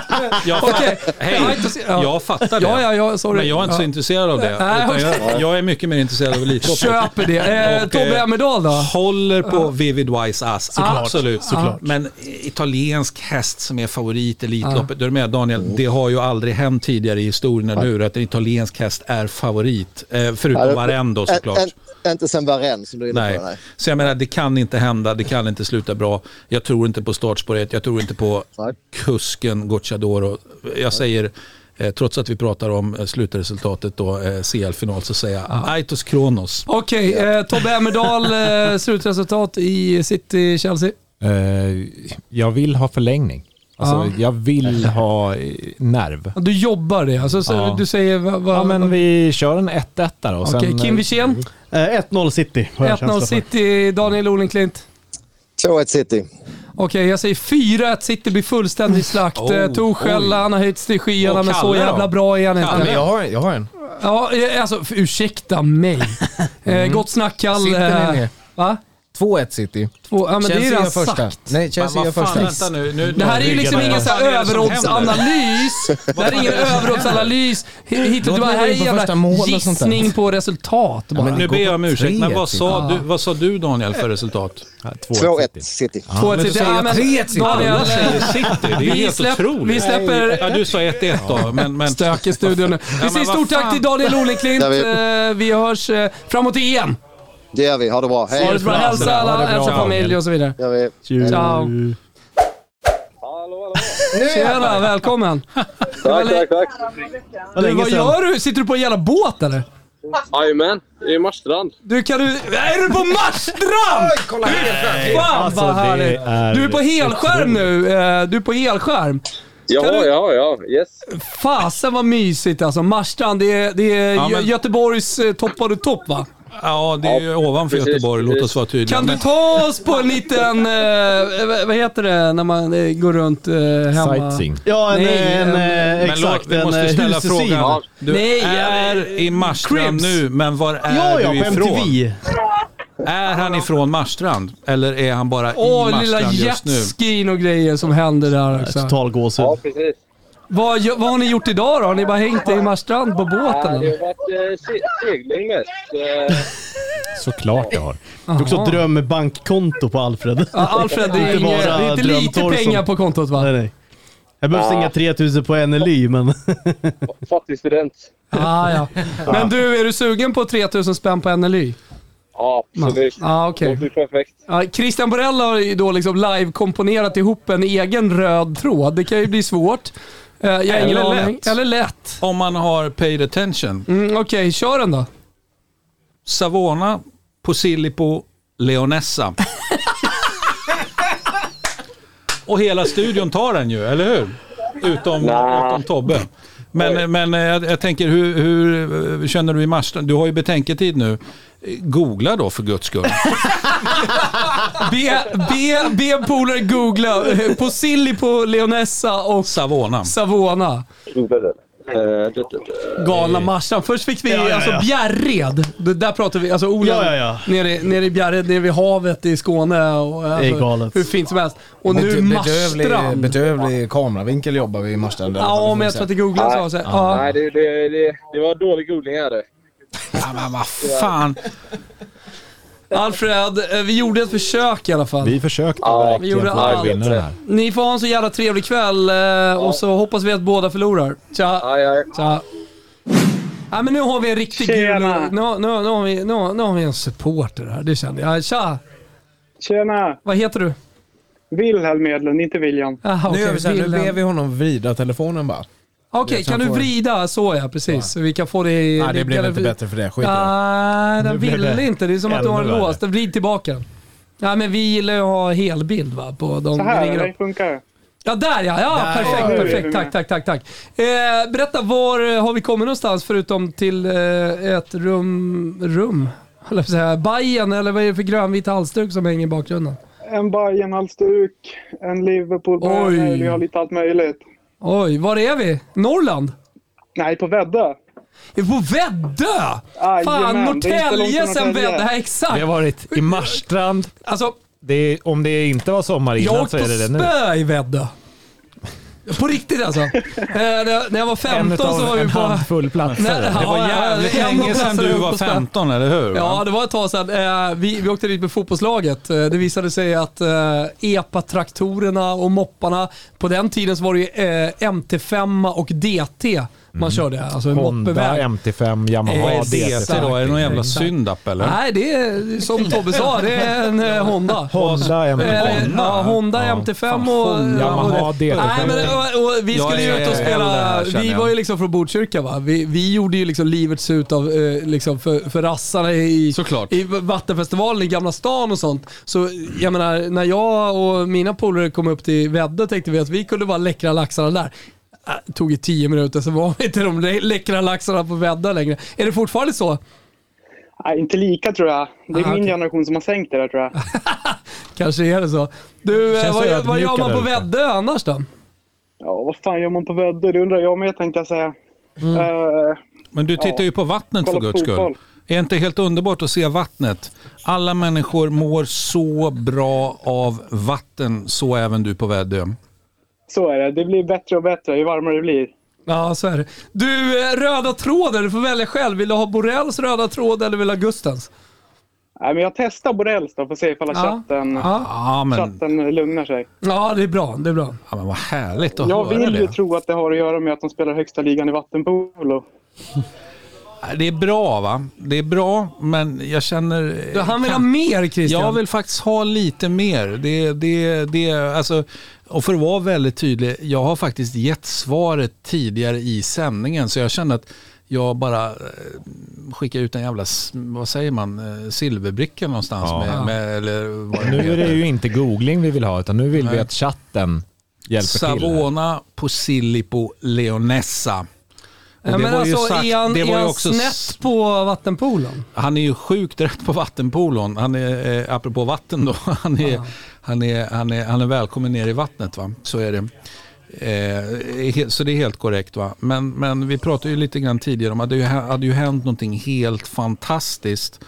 Jag, fatt,
Okej.
hej,
Aitos- ja.
jag fattar det.
Ja, ja, ja, sorry.
Men jag är inte så
Ja.
intresserad av det.
Nej,
utan jag, jag är mycket mer intresserad av elithockey.
Köper det. Eh,
Och,
Tobbe
eh,
Emmerdahl då?
Håller på Vivid Wise Ass, absolut.
såklart.
Men italiensk häst som är favorit i Elitloppet, du är du med Daniel, det har ju aldrig hänt tidigare i historien, eller hur? Att en italiensk häst är favorit, eh, förutom
Ja,
Varenne då såklart.
Ä- ä- Inte sen Varenne som du är inne
Nej.
på. Nej.
Så jag menar, det kan inte hända, det kan inte sluta bra. Jag tror inte på startspåret, jag tror inte på
Nej.
kusken Gocciadoro. Jag säger, eh, trots att vi pratar om eh, slutresultatet då, eh, CL-final, så säger jag Aitos Kronos.
Okej, eh, Tobbe Emmerdahl, eh, slutresultat i City Chelsea.
Eh, jag vill ha förlängning. Alltså, Jag vill ha eh, nerv.
Du jobbar det, alltså, så
Ja.
du säger vad... vad
Ja, men vi kör en 1-1 där och
Okej,
sen...
Kim Wirsén,
Eh, 1-0 City har jag
1-0
känsla för.
City, Daniel Olenklint.
2-1 City.
Okej, jag säger 4-1 City blir fullständig slakt.
Oh,
Oh, Torshäll,
oj.
han har höjts till skyarna,
Och
men så
Kalle då?
jävla bra är han
Ja,
inte.
men jag, har, jag har en.
Ja, eh, alltså f- ursäkta mig. Eh, gott snack
Sitter ni
Kalle.
ner?
Va?
2-1 City.
Två, ja, men det är redan sagt.
Nej,
Men vad fan, vänta nu, nu-
Det här är ju
ryggar
liksom
jag.
ingen så här
Vad fan är det som händer?
överroddsanalys. Det här är ingen överroddsanalys. Hi- Hittar
Låt
du bara
mig
här
gå in på
är
första
en
mål
jävla
och sånt där.
gissning på resultat bara.
men
Nu ber jag om ursäkt, men
Tre,
vad sa,
typ.
du, vad sa du Daniel för resultat?
2-1 City.
Två ett City. Ja, men Daniel,
Alla säger City, det är ju
vi,
helt
släpp,
otroligt.
vi släpper
Ja, du sa 1-1 då, men... men
stök i studion nu. Vi
men
säger
vad
stort tack
fan.
till Daniel Olenklint.
Ja, vi-
Eh, Vi hörs eh, framåt i EM.
Det gör vi. Ha det bra.
Ha det
Hej.
så bra. Hälsa
Ha
alla,
det bra,
hälsa familj
Daniel.
och så vidare.
Gör vi.
Ciao. Tjena, välkommen.
Tack, tack, tack.
Vad
Du,
länge
vad
sedan.
gör du? Sitter du på en jävla båt eller?
Jajamän, i Marstrand.
Du kan du... Är du på Marstrand? Kolla Fan
Alltså,
vad
det
härligt.
är
Du är på helskärm nu. Eh, Du är på helskärm. Kan
Ja,
du-
ja, ja. Yes.
Fasen vad mysigt alltså. Marstrand, det är, det är
Ja, men-
Gö- Göteborgs eh, toppar du topp va?
Ja, det är ju ovanför
precis,
Göteborg, låt oss vara tydliga.
Kan du
Men-
ta oss på en liten... Eh, vad- vad heter det när man eh, går runt eh, hemma?
Sightseeing.
Ja, en,
Nej,
en,
men-
eh,
Men låt-
exakt.
vi
En
måste ställa
husesyn.
frågan. Du
Nej,
är i Marstrand
Cribs.
nu, men var är
Ja, ja,
du
på
ifrån?
MTV.
Är han ifrån Marstrand? Eller är han bara i
Åh, lilla
Marstrand just nu?
jetskin och grejer som händer där också.
Total gåshud.
Ja, precis.
Vad, gö- vad har ni gjort idag då? Har ni bara hängt i Marstrand på båten?
Äh,
eller?
det har varit eh, se- segling mest. Eh,
Såklart jag har.
Det är också drömbankkonto på Alfred.
Ja, Alfred, det är,
Inte
inget, det
bara
är inte lite
drömtorson.
pengar på kontot va?
Nej, nej. Jag behövs inga 3000 på NLY, men...
Fattig student.
Ah, ja. Men du, är du sugen på 3000 spänn på NLY?
Ja, absolut.
Ja, Ah, okej.
Det är perfekt.
Ja, Christian Borell har ju då liksom live-komponerat ihop en egen röd tråd. Det kan ju bli svårt. Eh, Jag har ingen aning. Eller lätt.
Om man har paid attention.
Mm, Okej, kör den då.
Savona, Posillipo, Leonessa. Och hela studion tar den ju, eller hur? Utom, utom Tobbe. Men, men eh, jag, jag tänker, hur, hur eh, känner du i mars? Du har ju betänketid nu. Eh, Googla då för guds skull.
Be, be, be en polare googla eh, på Silly på Leonessa och
Savona.
Savona. Galna
Eh.
Marsan. Först fick vi
Ja, ja, ja.
alltså Bjärred. Det där pratar vi, alltså Ola
Ja, ja, ja.
Nere, nere i Bjärred, nere vid havet i Skåne. Och,
Det
alltså,
är galet.
Hur fint som helst. Och nu
Bedö- bedrövlig,
Marstrand.
bedrövlig kameravinkel jobbar vi i Marstrand.
Ja, men jag tror att det googlas av sig. Ja.
Nej, det, det, det, det var dålig googling här. det.
Ja, men vad fan.
Alfred, eh, vi gjorde ett försök i alla fall.
Vi försökte
vi gjorde
verkligen få
allt.
vinna den här.
Ni får ha en så jävla trevlig kväll eh, och så hoppas vi att båda förlorar. Tja!
Aj, aj.
Tja! Ja, men nu har vi en riktig gul... Nu, nu, nu, har vi, nu, nu har vi en supporter här, det kände jag. Tja!
Tjena!
Vad heter du?
Wilhelm Edlund, inte William.
Aha,
Nu,
okej,
gör vi så här, nu
Wilhelm.
ber vi honom vrida telefonen bara.
Okej,
Jag
kan du
får-
vrida? Så ja, precis. Så vi kan få det i...
Nej, det
vi
blev
kan-
inte bättre för det. Skit i det.
Nej, den
Nu blev
ville
det
inte. Det är som att du har en
ännu
lås. Den Vrid tillbaka den. Ja, men vi gillar ju att ha helbild va? På de vi
Så här,
ringer
det
upp.
funkar.
Ja, där ja! ja
Där,
perfekt,
ja.
perfekt. Tack, tack, tack. tack. Eh, berätta, var eh, har vi kommit någonstans förutom till eh, ett rum... Rum? Höll jag på att säga. Bajen, eller vad är det för grönvit halsduk som hänger i bakgrunden?
En Bajenhalsduk, en liverpool
Oj.
vi har lite allt möjligt.
Oj, var är vi? Norrland?
Nej, på Väddö.
Är vi på Väddö? Fan,
Jajamän, det är inte långt
Norrtälje
från
sen
Norrtälje.
Väddö. Ja,
Vi
Exakt.
har varit i Marstrand.
Alltså,
Det är, om det inte var sommar
Jag har
innan
åkt
så
på
är det det nu.
spö i Väddö. På riktigt alltså. eh, när, jag- när jag var 15
utav
så var vi
en
på...
handfull platser.
Nej,
Det var
ja,
jävligt
ja,
länge sedan du
ja,
var
på spö.
15, eller hur?
Ja, det var ett tag sedan. Eh, vi, vi åkte dit med fotbollslaget. Eh, det visade sig att eh, EPA-traktorerna och mopparna, på den tiden så var det ju eh, MT5 och DT man körde. Alltså en
Honda,
moppeväg.
MT5, Yamaha,
Vad är
DT.
DT då? Är det någon jävla syndapp eller?
Nej, det är som Tobbe sa, det är en eh, Honda.
Honda,
Eh,
MT5.
Ja, Honda MT5 och... eh,
Yamaha,
och-
DT.
Nej, men, eh, och, och, vi
Jag
skulle
är
ju ut och
äldre här,
spela...
känner
Vi
jag.
var ju liksom från Botkyrka va. Vi, vi gjorde ju liksom livets ut av, eh, liksom för, för rassarna i,
Såklart.
i Vattenfestivalen i Gamla stan och sånt. Så jag menar, när jag och mina polare kom upp till Väddö tänkte vi att vi kunde vara läckra laxarna där. Äh, Det tog ju tio minuter, så var vi inte de lä- läckra laxarna på Väddö längre. Är det fortfarande så?
Nej, inte lika tror jag. Det är
Ah,
min
okej.
generation som har sänkt det där tror jag.
Kanske är det så. Du, eh,
Känns
vad, vad gör
ödmjukare
man på
ute.
Väddö annars då?
Ja, vad fan gör man på Väddö? Det undrar jag med tänkte jag säga.
Mm.
Eh,
Men du tittar ju på vattnet för
Kolla
guds skull.
fotboll.
Är inte helt underbart att se vattnet? Alla människor mår så bra av vatten, så även du på Väddö.
så är det. Det blir bättre och bättre ju varmare det blir.
Ja, så är det. Du, eh, röda tråden, du får välja själv. Vill du ha Borrells röda tråd eller vill du ha Gustens?
Nej, men jag testar Borrells då, får se ifall chatten,
Ja.
Ja, men,
chatten lugnar sig.
ja, det är bra. Det är bra.
ja, men vad härligt att
Jag
höra
vill ju
det.
tro att det har att göra med att de spelar högsta ligan i vattenpolo.
Det är bra va? Det är bra, men jag känner...
Du, han vill ha mer Christian.
Eh, Jag vill faktiskt ha lite mer. Det, det, det, alltså, och för att vara väldigt tydlig, jag har faktiskt gett svaret tidigare i sändningen så jag känner att jag bara eh, skickar ut en jävla, s- vad säger man, eh, silverbricka någonstans.
Ja.
Med, med, eller vad
Nu är det
heter.
ju inte googling vi vill ha, utan nu vill vi
Nej.
att chatten hjälper till. här.
Savona Posillipo Leonessa. Och
Ja,
det
men
var ju
alltså,
sagt-
är han,
det var
är
ju
han
också s-
snett på vattenpoolen?
Han är ju sjukt rätt på vattenpolon. Han är, eh, apropå vatten då, han är, han, är, han, är, han är välkommen ner i vattnet va, så är det. Eh, he- så det är helt korrekt va. Men, men vi pratade ju lite grann tidigare om att det ju hä- hade ju hänt någonting helt fantastiskt.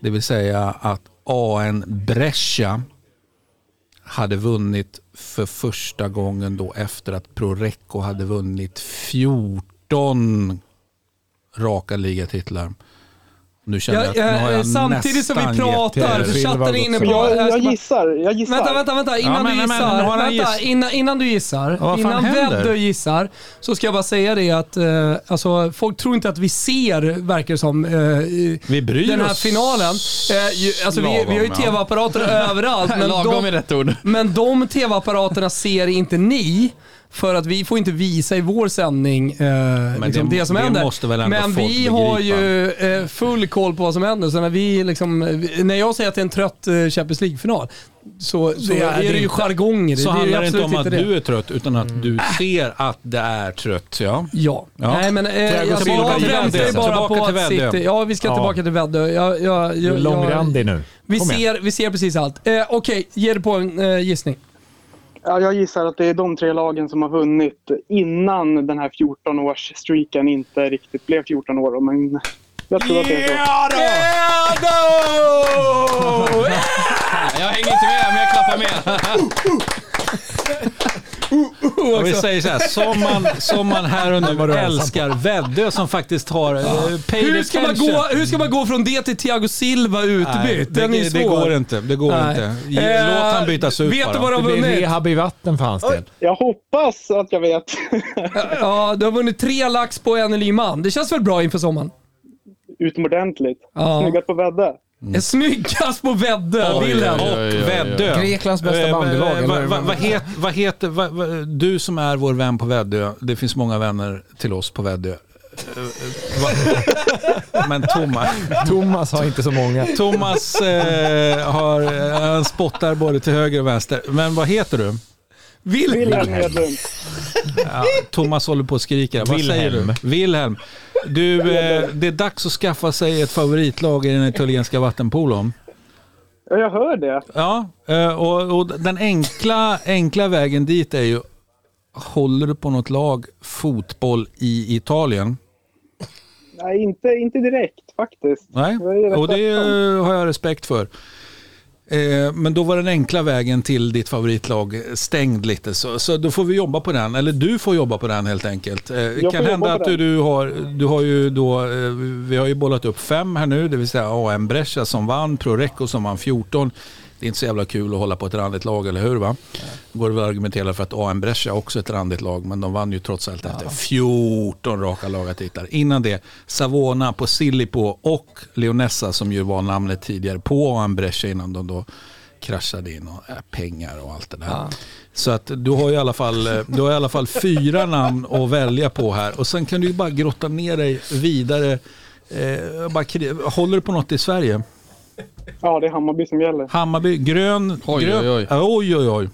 Det vill säga att AN Brescia hade vunnit för första gången då efter att Prorecco hade vunnit 14 raka ligatitlar. Nu känner jag,
Ja,
att nu har
eh,
jag
samtidigt som vi
nästan gett
pratar,
er-
för chatten är inne på...
Men jag,
eh,
jag gissar, jag gissar.
Vänta, vänta, vänta. Innan
Ja, men-
du
men-
gissar.
men har han
vänta,
giss-
innan, innan du gissar.
vad fan
innan
händer?
Väddö gissar så ska jag bara säga det att eh, alltså, folk tror inte att vi ser, verkar det som, eh, i
Vi bryr
den här
oss
finalen. Eh, ju, alltså, vi, vi har ju
lagom, ja.
tv-apparater överallt. Men
Lagom är
de,
rätt ord.
men de tv-apparaterna ser inte ni. För att vi får inte visa i vår sändning eh, liksom
det-
det, som
det
händer.
måste väl ändå
Men
folk
vi har
begripa.
ju eh, full koll på vad som händer. Så när, vi liksom, eh, när jag säger att det är en trött eh, Champions League-final så, så är, det ju
inte-
jargonger.
Så
det, är ju
handlar det inte
absolut
om att
det. Mm.
du är trött, utan att du ser att det är trött. Ja.
Ja. Nej, men, eh,
Tillbaka
alltså,
till
jag
Väddö.
väntar ju bara
Tillbaka
på
till
att
Väddö.
City... Ja, vi ska
Ja.
tillbaka till Väddö. Jag, jag,
Du är
jag,
långrandig nu.
Vi
Kom igen.
ser, vi ser precis allt. Eh, Okej, ge dig på en eh, gissning.
Ja, jag gissar att det är de tre lagen som har vunnit innan den här 14-årsstreaken inte riktigt blev 14 år. då, Men jag tror att det är så.
Jag hänger inte med, men jag klappar med. Och vi säger så här, som man, som man här och nu älskar Väddö som faktiskt har eh, paid
Hur ska, man gå,
attention.
hur ska man gå från det till Thiago Silva
Nej,
utbytt? Den är
det,
svår.
det går inte. Det går
Nej.
inte. Ge-
Eh,
Låt han bytas ut
vet
bara.
du vad de har
Det blir
vunnit?
rehab i vatten för hans del.
Jag hoppas att jag vet.
Ja, du har vunnit tre lax på en ny man. Det känns väl bra inför sommaren?
Utomordentligt.
Ja.
Snyggast på Väddö.
Mm. Snyggast på Väddö,
Och
Wilhelm.
Väddö.
Greklands bästa
Eh,
bandylag,
eh,
eller?
Vad vad- vad het- vad heter, vad- vad- du som är vår vän på Väddö, det finns många vänner till oss på Väddö. Eh, eh, vad- Men Thomas,
Thomas har inte så många.
Thomas eh, har, eh, han spottar både till höger och vänster. Men vad heter du?
Wilhelm.
Wilhelm Edlund.
Ja, Thomas håller på att skrika. Vad säger
Wilhelm.
du? Wilhelm. Du, eh, det är dags att skaffa sig ett favoritlag i den italienska vattenpolon.
Ja, jag hör det.
Ja, eh, och, och den enkla, enkla vägen dit är ju, håller du på något lag fotboll i Italien?
Nej, inte, inte direkt faktiskt.
Nej,
Jag är rätt
och det
tacksam.
eh, har jag respekt för. Eh, Men då var den enkla vägen till ditt favoritlag stängd lite, så, så då får vi jobba på den. Eller du får jobba på den helt enkelt. Det
får
kan
jobba
hända
på
att du,
den.
du har, du har ju då, eh, vi har ju bollat upp fem här nu, det vill säga AM Brescia som vann, Prorecco som vann 14. Det är inte så jävla kul att hålla på ett randigt lag, eller hur? va? Det går väl att argumentera för att AM Brescia också är ett randigt lag, men de vann ju trots allt efter 14 raka lagartitlar. Innan det, Savona på Sillipo och Leonessa som ju var namnet tidigare på AM Brescia innan de då kraschade in och äh, pengar och allt det där. Så att du har, i alla fall, eh, du har i alla fall fyra namn att välja på här och sen kan du ju bara grotta ner dig vidare. Eh, bara, kri- håller du på något i Sverige?
Ja, det är Hammarby som gäller.
Hammarby, grön,
Oj,
grön,
oj, oj.
Ja, oj, oj, oj.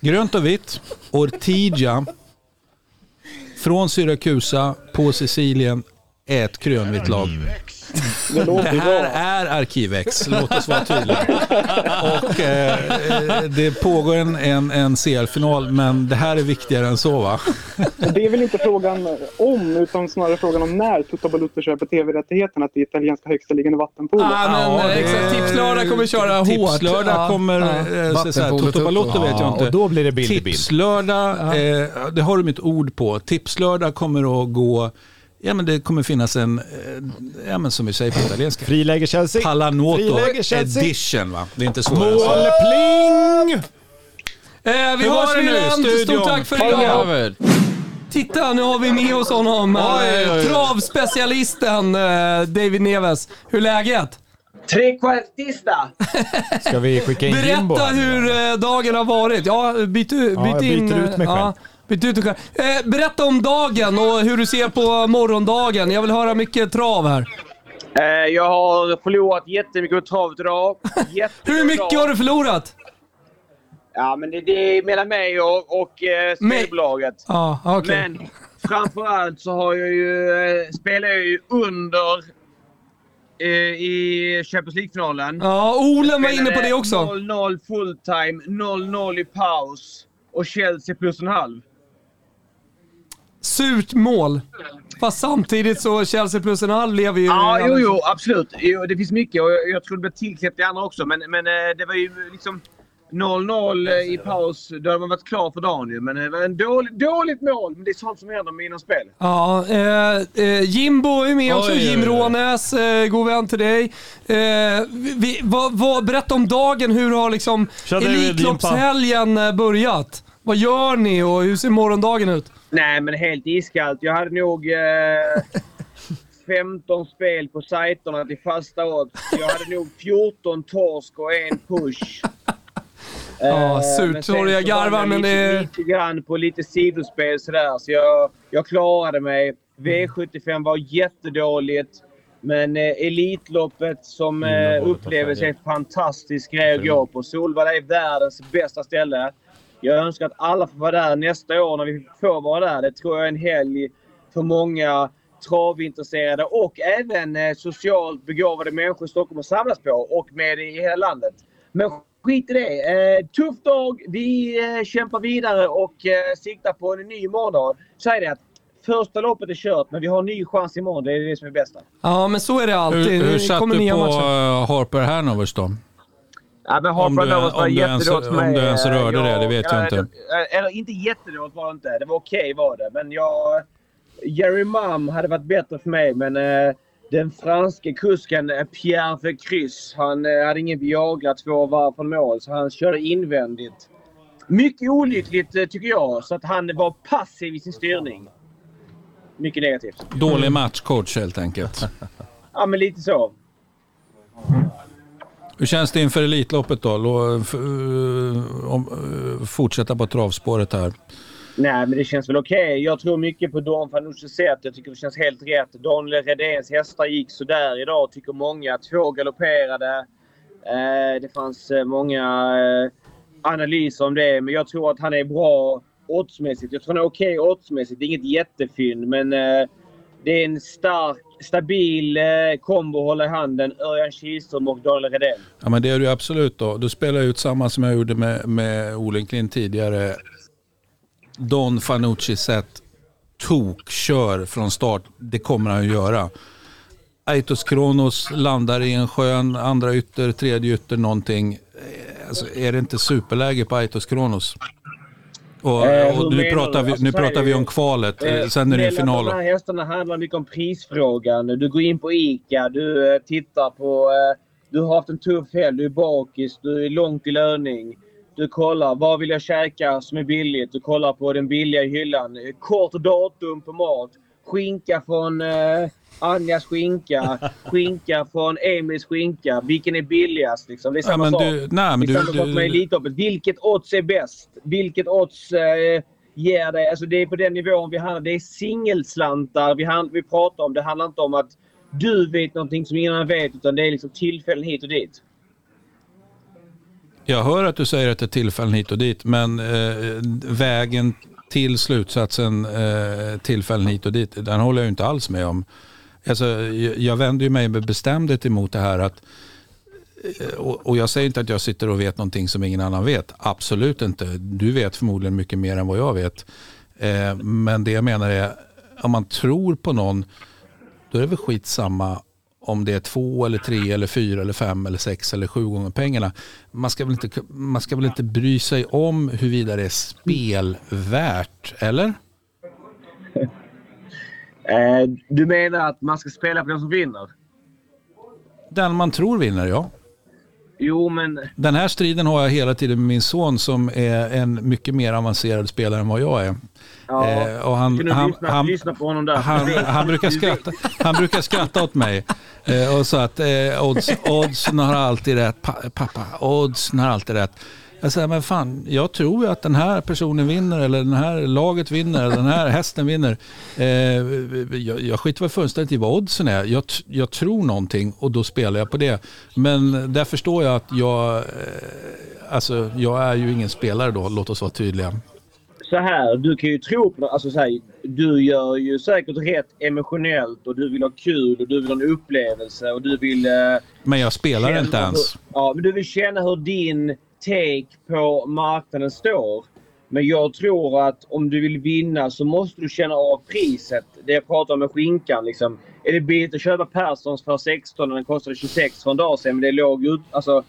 Grönt och vitt, Ortigia, från Syrakusa på Sicilien, är ett grönvitt lag.
Det låter
Det här
bra.
är Arkivex, låt oss vara tydliga. Och, eh, eh, det pågår en, en, en CL-final, men det här är viktigare än så va?
Det är väl inte frågan om, utan snarare frågan om när Toto Balotto köper tv-rättigheterna till italienska högsta liggande vattenpolo.
Ah, men,
Ja, det-
eh, exakt. Tipslördag kommer köra hårt.
Tipslördag
Ja,
kommer...
ja.
eh, så- så här,
Vattenpolo
Toto Balotto vet jag
Ja,
inte.
och då blir det bild i bild.
Tipslördag, eh, det har de ett ord på. Tipslördag kommer att gå... Ja men det kommer finnas en, eh, ja men som vi säger på italienska,
Friläge Chelsea.
Palanotto
Friläge Chelsea.
edition va? Det är inte svårare än
Mål,
så.
pling!
Eh, vi
Hur var
hörs
det nu?
Wilhelm.
Studion.
Stort tack för idag. Titta, nu har vi med oss honom. eh, Travspecialisten eh, David Neves. Hur är läget?
Trequartista!
Ska vi skicka in Jimbo?
Berätta
här nu,
hur
eller?
eh, dagen har varit. Ja, byt, byt
jag byter
in, eh,
ut mig själv.
ja, byt ut dig själv. Eh, berätta om dagen och hur du ser på morgondagen. Jag vill höra mycket trav här.
Eh, jag har förlorat jättemycket på travet idag. Jättemycket
Hur mycket
trav.
har du förlorat?
Ja, men det, det är mellan mig och, och eh,
Mig-
spelbolaget.
Ja, okej.
Men framförallt så har jag ju, eh, spelar jag ju under eh, i Champions League-finalen.
Ja, Olen var inne på det också.
0-0 fulltime, 0-0 i paus och Chelsea plus en halv.
Surt mål. Fast samtidigt så Chelsea plus en halv lever ju...
Mm, Ja, jo, jo, absolut. Jo, det finns mycket och jag, jag tror det blev tillknäppt i andra också. Men, men eh, det var ju liksom 0-0 i paus. Då hade man varit klar för dagen ju. Men eh, det var en dålig, dåligt mål. Men det är sånt som händer med inom spel.
Ja, eh, eh, Jimbo är med också. Jim Rånäs, eh, god vän till dig. Eh, vi, vad, vad, berätta om dagen. Hur har liksom
Tja, David,
Elitloppshelgen eh, börjat? Vad gör ni och hur ser morgondagen ut?
Nej, men helt iskallt. Jag hade nog eh, 15 spel på sajterna till fasta odds. Jag hade nog 14 torsk och en push.
Ja, surt.
Eh, men sen
Sorry, jag
så var
garvar, men
lite,
det-
Lite grann på lite sidospel sådär, så jag, jag klarade mig. V75 var jättedåligt. Men eh, Elitloppet som eh, upplevdes är en fantastisk grej att gå på. Solvalla är världens bästa ställe. Jag önskar att alla får vara där nästa år när vi får vara där. Det tror jag är en helg för många travintresserade och även eh, socialt begåvade människor i Stockholm att samlas på och med i hela landet. Men skit i det. Eh, tuff dag. Vi eh, kämpar vidare och eh, siktar på en ny måndag. Säg det att första loppet är kört, men vi har en ny chans imorgon. Det är det som är bästa.
Ja, men så är det alltid.
Hur, hur
Det
satt
kommer
du
nya
på
matcher.
eh, Harper Hanovers då?
Ja, men
Om
Harper
du-
Lovers var
om du ens-
jättedåligt för
om
mig.
du ens rörde
Eh,
det, det vet jag
eh,
inte.
eh, Eller inte jättedåligt var det inte. Det var okej var det. Men jag... Jerry Mum hade varit bättre för mig, men eh, den franske kusken eh, Pierre Vercryss, han eh, hade ingen Viagra två varv från mål, så han körde invändigt. Mycket olyckligt eh, tycker jag, så att han var passiv i sin styrning. Mycket negativt.
Mm.
Dålig matchcoach helt enkelt.
Ja, men lite så.
Hur känns det inför Elitloppet då? Lå- f- eh, om- eh, Fortsätta på travspåret här.
Nej, men det känns väl okej. Jag tror mycket på Don Fanucci's sätt. Jag tycker det känns helt rätt. Daniel Redéns hästar gick sådär idag, tycker många. Två galopperade. Eh, det fanns eh, många eh, analyser om det, men jag tror att han är bra oddsmässigt. Jag tror han är okej oddsmässigt. Det är inget jättefynd, men eh, det är en stark, stabil eh, kombo att hålla i handen. Örjan Kihlström och Daniel Redén.
Ja, men det är du absolut då. Du spelar ut samma som jag gjorde med, med Olenklin tidigare. Don Fanucci sätt tokkör från start. Det kommer han att göra. Aitos Kronos landar i en skön andra ytter, tredje ytter någonting. Eh, Alltså, är det inte superläge på Aitos Kronos? Och,
Eh, hur
och nu,
menar
pratar
du?
vi,
Alltså,
nu
så här
pratar
är
vi
det-
om kvalet,
Eh,
eh, sen är det ju
mellan
finalen.
de här hästarna handlar mycket om prisfrågan. Du går in på ICA, du eh, tittar på... eh, Du har haft en tuff helg, du är bakis, du är långt i löning. Du kollar, vad vill jag käka som är billigt? Du kollar på den billiga hyllan. Eh, Kort datum på mat. Skinka från eh, Anjas skinka. Skinka från Emils skinka. Vilken är billigast? Liksom? Det är
Ja,
samma
men
sak.
du- nej, men
det är
du-
samma sak
du-
med Elitloppet. Vilket odds är bäst? Vilket odds eh, ger dig... Alltså det är på den nivån vi handlar. Det är singelslantar vi, hand, vi pratar om. Det handlar inte om att du vet någonting som ingen annan vet, utan det är liksom tillfällen hit och dit.
Jag hör att du säger att det är tillfällen hit och dit, men eh, vägen till slutsatsen eh, tillfällen hit och dit, den håller jag ju inte alls med om. Alltså, jag, jag vänder ju mig med bestämdhet emot det här att eh, och, och jag säger inte att jag sitter och vet någonting som ingen annan vet. Absolut inte. Du vet förmodligen mycket mer än vad jag vet. Eh, men det jag menar är, om man tror på någon, då är det väl skitsamma om det är två eller tre eller fyra eller fem eller sex eller sju gånger pengarna. Man ska väl inte, man ska väl inte bry sig om huruvida det är spelvärt, eller?
Eh, du menar att man ska spela på den som vinner?
Den man tror vinner, ja.
Jo, men...
Den här striden har jag hela tiden med min son som är en mycket mer avancerad spelare än vad jag är.
Ja,
Eh, och han,
kunde
han,
lyssna,
han,
lyssna på honom där.
han,
Du vet-
han, brukar
du vet-
skratta, han brukar skratta åt mig. Eh, och så att eh, odds, oddsen har alltid rätt. Pa, pappa, oddsen har alltid rätt. Jag säger, men fan, jag tror ju att den här personen vinner eller den här laget vinner eller den här hästen vinner. Eh, jag, jag skiter väl fullständigt i vad oddsen är. Jag, t- jag tror någonting och då spelar jag på det. Men där förstår jag att jag, eh, alltså jag är ju ingen spelare då, låt oss vara tydliga.
så här, du kan ju tro på alltså så här, Du gör ju säkert rätt emotionellt och du vill ha kul och du vill ha en upplevelse och du vill... Eh,
Men jag spelar
känna
inte ens.
Hur, ja, men du vill känna hur din take på marknaden står. Men jag tror att om du vill vinna så måste du känna av priset. Det jag pratar om med skinkan. Liksom. Är det billigt att köpa Perssons för 16 när den kostade 26 för en dag sedan men det är låg ut, alltså,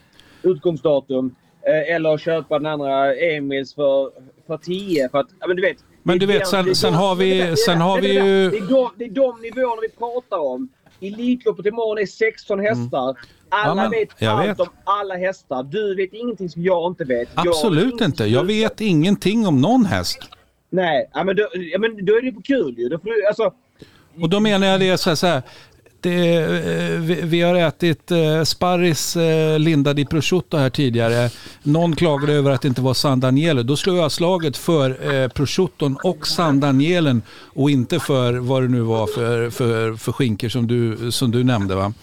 utgångsdatum? Eh, Eller att köpa den andra Emils för, för 10. För att, ja, men du vet,
Men du
det är
vet,
den-
sen-
det är
sen
den-
har vi-
det är den-
sen har
det är den-
vi ju-
Det är de, det är de nivåerna vi pratar om. Elitloppet imorgon är 16 hästar. Alla
Mm. men
vet
jag
allt
vet.
om alla hästar. Du vet ingenting som jag inte vet. Jag-
Absolut inte. Jag vet ingenting om någon häst.
Nej, ja, men då, ja, men då är det på kul ju. Då får du, alltså,
Och då menar jag det så här, så här det, eh, vi, vi har ätit eh, sparris eh, lindad i prosciutto här tidigare. Någon klagade över att det inte var San Daniele. Då slår jag slaget för eh, prosciutton och San Danielen och inte för vad det nu var för, för, för skinkor som du, som du nämnde. Va?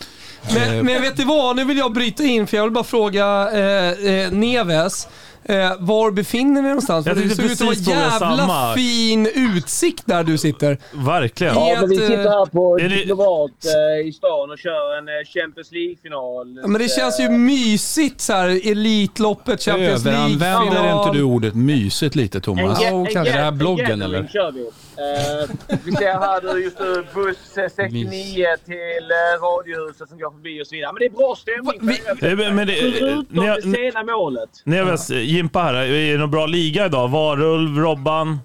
Eh,
Men, men vet du vad, nu vill jag bryta in för jag vill bara fråga eh, eh, Neves. Eh, var befinner vi oss någonstans?
Jag
För det
tänkte
ser ut att vara
precis fråga
jävla
samma.
fin utsikt där du sitter.
Verkligen.
Ja, men vi sitter här
på
Är det-
diplomat eh, i stan och kör en eh, Champions League-final.
Ja, Men det känns ju mysigt så här. Elitloppet, Champions League.
Överanvänder
final.
inte du ordet mysigt lite Thomas?
En,
Är
ge- en,
det här
ge-
bloggen
en
eller?
eller? kör vi. Eh, vi ser här nu just nu buss eh, 69 till eh, Radiohuset som går förbi och så vidare. Men det är bra stämning.
Eh, men- men det-
Förutom
ni har-
det sena målet.
Neves, Jimpa här. Är det någon bra liga idag? Varulv, Robban,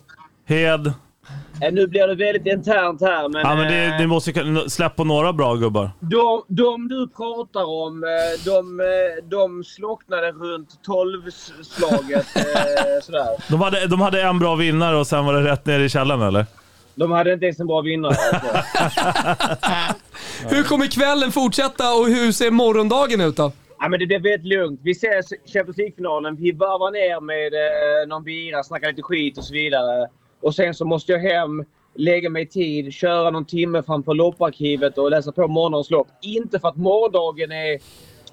Hed?
Eh, nu blir det väldigt internt här, men...
ja, men
eh,
det, ni måste ju- släpp på några bra gubbar.
De, de du pratar om, eh, de, eh, de slocknade runt 12-slaget. eh, sådär.
De hade, de hade en bra vinnare och sen var det rätt ner i källaren eller?
De hade inte ens en bra vinnare. alltså.
Hur kommer kvällen fortsätta och hur ser morgondagen ut då?
Ja, men det blir väldigt lugnt. Vi ses i Champions League-finalen. Vi varvar ner med eh, någon bira, snackar lite skit och så vidare. Och sen så måste jag hem, lägga mig i tid, köra någon timme framför lopparkivet och läsa på morgonens lopp. Inte för att morgondagen är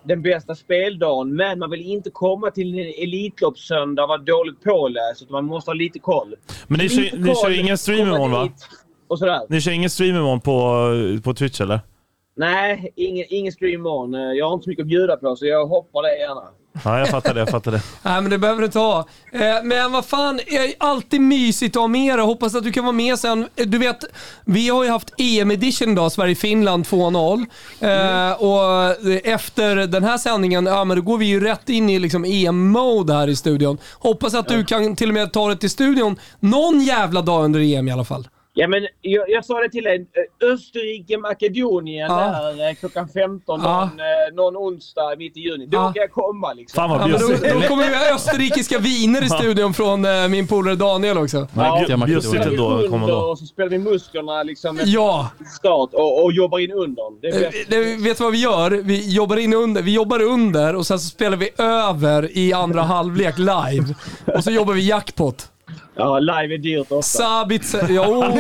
den bästa speldagen, men man vill inte komma till en Elitloppssöndag och vara dåligt påläst. Utan man måste ha lite koll.
Men ni
Lite
kör, ni kör
koll,
ingen stream
komma
imorgon va?
dit Och sådär.
Ni kör ingen stream imorgon på, på Twitch eller?
Nej, ingen, ingen stream imorgon. Eh, Jag har inte så mycket att bjuda på, så jag hoppar det gärna.
Ja, jag fattar det. Jag fattar det.
Nej men det behöver du inte ha. Eh, Men vad fan, är alltid mysigt att ha med dig. Hoppas att du kan vara med sen. Eh, Du vet, vi har ju haft EM-edition idag, Sverige-Finland 2-0. Eh, Och eh, efter den här sändningen, ja men då går vi ju rätt in i liksom EM-mode här i studion. Hoppas att du kan till och med ta det till studion någon jävla dag under EM i alla fall.
Ja, men jag, jag sa det till dig. Österrike-Makedonien
Ja.
där eh, klockan 15
Ja.
någon, eh, någon onsdag mitt i juni. Då kan jag komma liksom.
Fan vad
Ja, men då,
bjussigt.
då kommer vi ha österrikiska viner i studion från eh, min polare Daniel också.
och så spelar vi under och så spelar vi musklerna liksom
Ja.
start och, och jobbar in undern. Det är
Eh,
bäst.
det- Vet du vad vi gör? Vi jobbar, in under, vi jobbar under och sen så spelar vi över i andra halvlek live. Och så jobbar vi jackpot.
Ja, live är dyrt ofta.
Sabitzer... Jo, eh,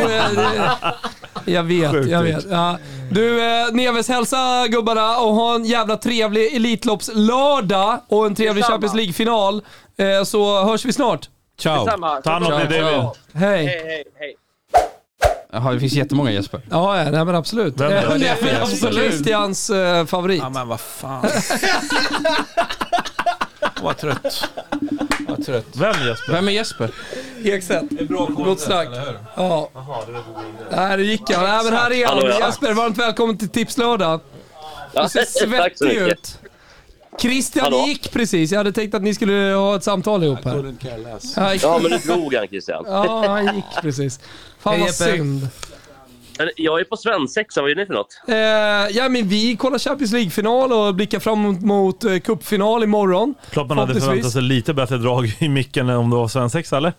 det- jag vet.
Sjukt
Jag
dyrt.
vet. Ja. Du, eh, Neves, hälsa gubbarna och ha en jävla trevlig Elitloppslördag och en trevlig
Detsamma.
Champions League-final. Eh, Så hörs vi snart.
Ciao.
Detsamma. Ta hand
om dig, David.
Hej.
Hej, hej, hej.
Jaha, det finns jättemånga Jesper.
Ja, ja, nej, men absolut.
Vem då?
Även
Det är
Neves
absolut.
Christians eh, favorit. Ja,
men vad fan. Vad trött. Vad trött.
Vem Jesper?
Vem är Jesper?
Ekstedt. Gott snack. Ja.
Jaha, det var god idé.
Nej, det gick jag. Nej, men här är
Hallå,
han.
ja.
Jesper, varmt välkommen till Tipslördag. Du
Ja,
ser
tack så
svettig
mycket.
ut. Christian
Hallå?
gick precis. Jag hade tänkt att ni skulle ha ett samtal ihop här. Hej.
Ja, men nu drog han Christian.
Ja, han gick precis. Fan
Hej,
vad
Jeppe.
synd.
Men Jag är på svensexa. Vad är ni för något?
Eh, ja, men vi kollar Champions League-final och blickar fram mot, mot eh, cupfinal imorgon.
Klart man hade
Förhoppningsvis.
förväntat sig lite bättre drag i micken än om det var svensexa eller?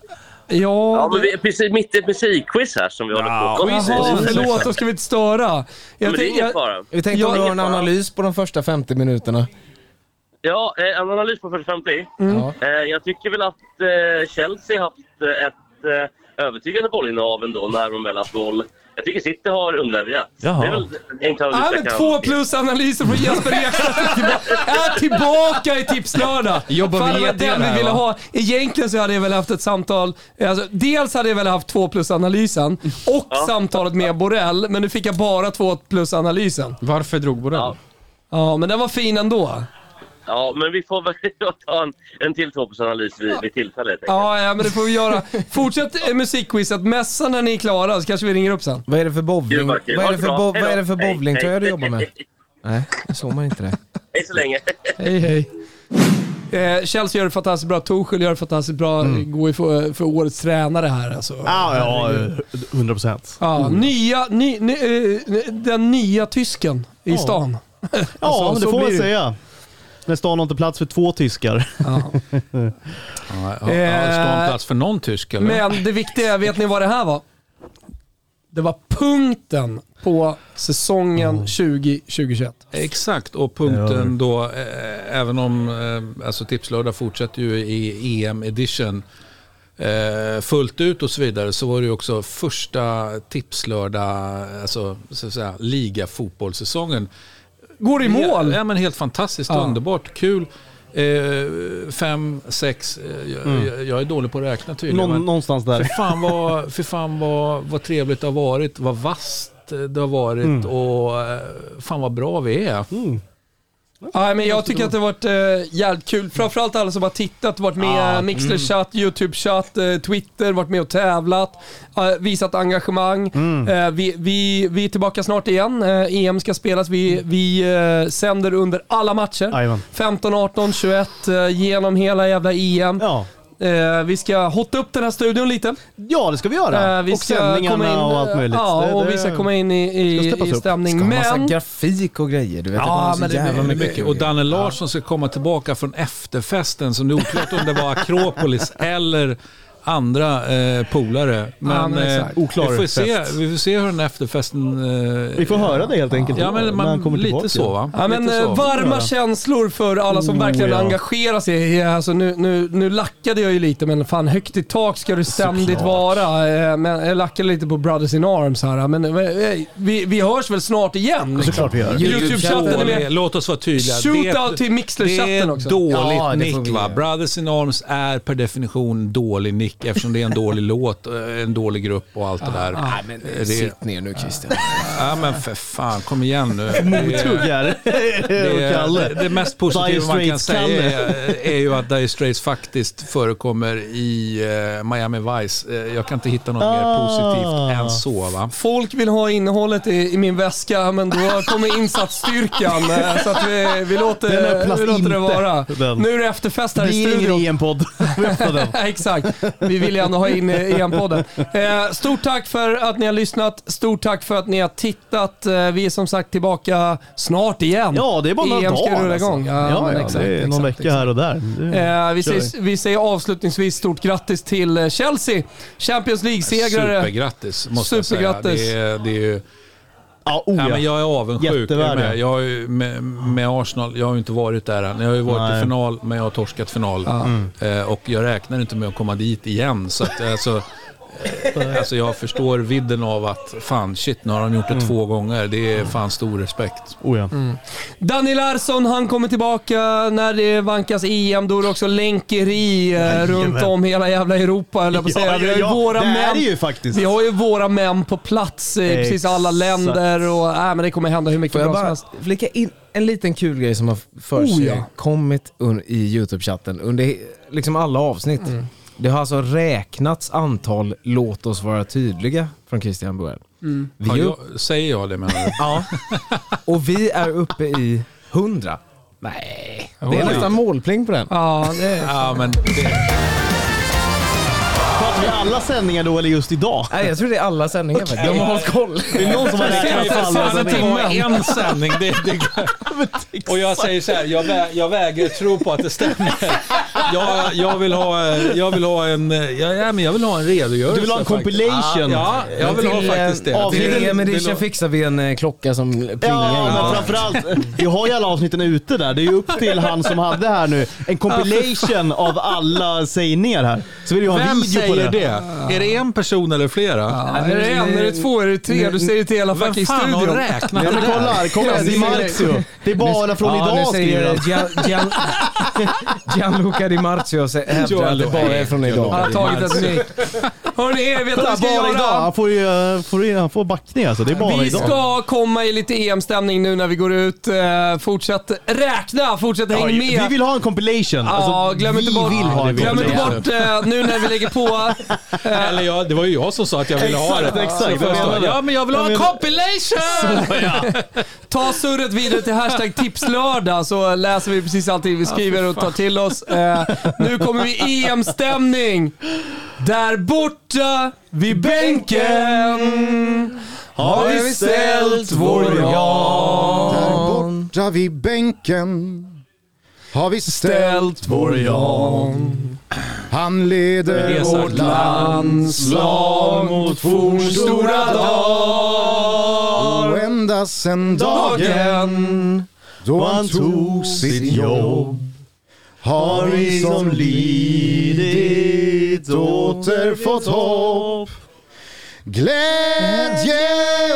Ja,
Ja, men vi är precis mitt i ett musikquiz här som vi håller på med.
Jaha, förlåt, då ska vi inte störa.
Men det är
tänk-
ingen fara.
Vi tänkte
Jag-
om du har en analys på de första 50 minuterna.
Ja, eh, en analys på 45 play.
Mm.
Eh, Jag tycker väl att eh, Chelsea haft eh, ett eh, övertygande bollinnehav ändå när de väl haft boll. Jag tycker City har underleverat. Det
Jaha.
är väl en analys
Ja,
jag
men
kan-
två plus analyser från Jesper Ekstedt är tillba- är tillbaka i Tipslördag.
Jobbar
Fan,
vi
det var
jättegärna
den vi
här,
ville
va?
ha. Egentligen så hade jag väl haft ett samtal. Alltså, dels hade jag väl haft två plus analysen och samtalet med Borrell, men nu fick jag bara två plus analysen.
Varför drog Borrell? Ja,
men den var fin ändå.
Ja, men vi får väl ta en, en till tvåpunktanalys vid, vid tillfälle. helt enkelt.
Ja, ja, men det får vi göra. Fortsätt eh, musikquizet. Mässa när ni är klara så kanske vi ringer upp sen.
Vad är det för bowling? Vad är det för, bo- vad är det för bowlingtröja du jobbar med? Nej, jag såg man inte det.
Hej så länge.
Hej hej. Eh, Chelsea gör det fantastiskt bra, Torshäll gör det fantastiskt bra, går ju för, för årets tränare här alltså.
Ja, ja,
Herregud.
100 procent.
Ja, nya, ny, ny, eh, den nya tysken i
Ja.
stan.
Ja,
Alltså,
men det
så
får man
blir det.
säga. När stan har inte plats för två tyskar.
Eh, Har, har stan plats för någon tysk eller?
Men det viktiga, vet ni vad det här var? Det var punkten på säsongen 2020-2021.
Exakt, och punkten då, eh, även om eh, alltså Tipslördag fortsätter ju i EM-edition eh, fullt ut och så vidare, så var det ju också första Tipslördag, alltså så att säga, liga-fotbollssäsongen.
Går i mål!
Ja, men helt fantastiskt,
Ja.
underbart, kul. Eh, fem, sex, eh, jag,
Mm.
jag, jag är dålig på att räkna tydligen.
Någon-
men-
någonstans där.
För fan vad, för fan vad, vad trevligt det har varit, vad vasst det har varit
Mm.
och eh, fan vad bra vi är.
Mm,
Nej, men jag tycker att det har varit eh, jävligt
Mm.
kul. Framförallt alla som har tittat, varit med
Ah,
i Mixler-chatt, YouTube-chatt, eh, Twitter, varit med och tävlat, eh, visat engagemang.
Mm.
Eh, vi, vi, vi är tillbaka snart igen. Eh, EM ska spelas. Vi, vi eh, sänder under alla matcher.
Mm. Jajamän.
15, 18, 21, eh, genom hela jävla EM. Eh, vi ska hotta upp den här studion lite. Eh,
Ja, det ska vi göra.
vi
Och
ska
sändningarna
komma in, eh,
och allt möjligt.
Ja,
Det-
och
det-
vi ska komma in i,
Ska
i,
steppas
i
upp.
stämning.
Ska ha massa
Men...
grafik och grejer. Du vet, det
Ja,
kommer så
men det
jävla
är mycket.
mycket.
Och Danne Larsson ska komma tillbaka från efterfesten, som det är oklart om det var Akropolis eller andra eh, polare. Men,
Ja, men
eh,
exakt.
vi,
Oklar
får se,
fest.
vi får se hur den efterfesten... Eh,
Vi får höra det helt enkelt.
Ja, men
När
man,
han kommer tillbaka.
lite så va?
Ja, men,
lite så.
eh, varma känslor för alla som
Oh,
verkligen
ja.
engagerar sig. Eh, Alltså, nu, nu, nu lackade jag ju lite, men fan högt i tak ska du ständigt
Såklart.
vara. Eh, Men jag lackade lite på Brothers in Arms här, men eh, vi, vi hörs väl snart igen?
Såklart vi gör.
Youtube-chatten är med.
Låt oss vara tydliga.
Shootout
Det-
till Mixler-chatten också.
Det är dåligt
Ja, det får vi
nick va?
göra.
Brothers in Arms är per definition dålig nick eftersom det är en dålig låt, eh, en dålig grupp och allt det där.
Ah, ah, men
Eh,
sitt ner nu, Christian.
Ja men för fan, kom igen nu.
Mothugg här.
Det,
Och Kalle.
det, det
Dire
mest positiva man kan
Straits
säga
Kalle.
är, är ju att Dire Straits faktiskt förekommer i eh, Miami Vice. Eh, jag kan inte hitta något mer positivt än så va.
Folk vill ha innehållet i, i min väska, men då kommer insatsstyrkan. eh, Så att vi, vi
Den
låter,
öppnas
vi låter det
inte,
vara.
den.
Nu är det efterfest här
Det
i
blir
studion.
ingen EM-podd.
Exakt. Vi vill ju ändå ha in EM-podden. Eh, stort tack för att ni har lyssnat. Stort tack för att ni har tittat. Eh, vi är som sagt tillbaka snart igen.
Ja, det är bara några
EM ska
dagar,
rulla
alltså.
igång. Ja,
Ja,
men
ja,
exakt,
det är någon
exakt,
vecka
exakt.
här och där. Det
Eh, vi,
kör
säger, vi säger avslutningsvis stort grattis till eh, Chelsea. Champions League-segrare.
Supergrattis måste jag säga.
Supergrattis.
Det är, det är ju...
Ja,
Nej, men jag är avundsjuk. Jag är
Jättevärde.
med. Jag har ju, med, med Arsenal, jag har ju inte varit där än. Jag har ju varit
Nej.
i final, men jag har torskat final.
Ja. Mm.
Eh, och jag räknar inte med att komma dit igen. Så att, alltså, eh, alltså, jag förstår vidden av att fan, shit, nu har de gjort det
Mm.
två gånger. Det är fan stor respekt.
Oh,
Danny Larsson, han kommer tillbaka när det vankas EM. Då är det också länkeri eh, runt om hela jävla Europa, höll jag på att
Ja,
säga. Vi har ju
ja, ja.
våra
Det är
män-
det ju faktiskt.
Vi har ju våra män på plats i precis alla
Exakt.
länder och äh, men det kommer hända hur mycket
Får jag
bra som
bara
helst.
flika in en liten kul grej som har för
Oh,
sig
ja.
kommit un- i YouTube-chatten under he- liksom alla avsnitt.
Mm.
Det har alltså räknats antal “låt oss vara tydliga” från Christian Borell.
Mm.
Vi
Har
ju-
jag, säger jag det menar du?
Ja. Och vi är uppe i 100. Nej, det är
Oj.
nästan målpling på den.
Ja, det är
ja, men det,
Pratar vi alla sändningar då eller just idag?
Nej, jag tror det är alla sändningar faktiskt. De har hållit koll.
Det är någon som har räknat
Det
alla
kan ju för fan inte vara
sändningar.
en sändning. Det, det, och jag säger så här, jag, vä, jag väger tro på att det stämmer. Jag, jag, vill, ha, eh, jag vill ha en eh, ja, ja, men jag vill ha en redogörelse.
Du vill ha en
faktiskt.
compilation.
Ja, jag vill ha
Till,
faktiskt det.
eh,
Till-
Till
vill
EM-edition
ha-
fixar vi en eh, klocka som
Mm,
plingar.
Ja,
in.
men framförallt, eh, vi har ju alla avsnitten ute där. Det är ju upp till han som hade här nu. En compilation av alla sägningar här. Så vill vi ha en
Vem
video på
säger
det.
det? Är det en person eller flera?
är det en, är det två, är det tre? Du säger det till hela fucking
Vem fan har
studion.
räknat
Ja, men
det där?
kolla, kolla. Di Marzio. Det är bara från
Ja,
idag
nu
skriver
säger
han.
Gian- Gian- Gianluca Di Marzio sä- hävdar att det bara är från idag.
Han har tagit ett nick. Hörni, jag vet att vi ska
bara
göra.
idag. Han får ju eh, får, ju- han får backning alltså. Det är bara
Vi
idag.
ska komma i lite EM-stämning nu när vi går ut. Eh, Fortsätt räkna, fortsätt
Ja,
häng med.
Vi vill ha en compilation. Alltså,
Ja,
alltså,
glöm inte bort,
Vi vill ha en
glöm inte
compilation.
bort eh, nu när vi lägger på.
Eller ja, det var ju jag som sa att jag ville ha det.
Exakt, exakt.
Så förstår jag. Ja, men jag vill ha en compilation!
Ta surret vidare till hashtag tipslördag så läser vi precis allting vi skriver och tar till oss. Eh, nu kommer vi EM-stämning. Där borta vid bänken har vi ställt vår ram.
Där borta vid bänken har vi ställt vår jan. Han leder
Resa
vårt landslag mot fornstora dagar. Ända sen dagen då han tog sitt jobb har vi
liksom
som lidit åter fått hopp. Glädje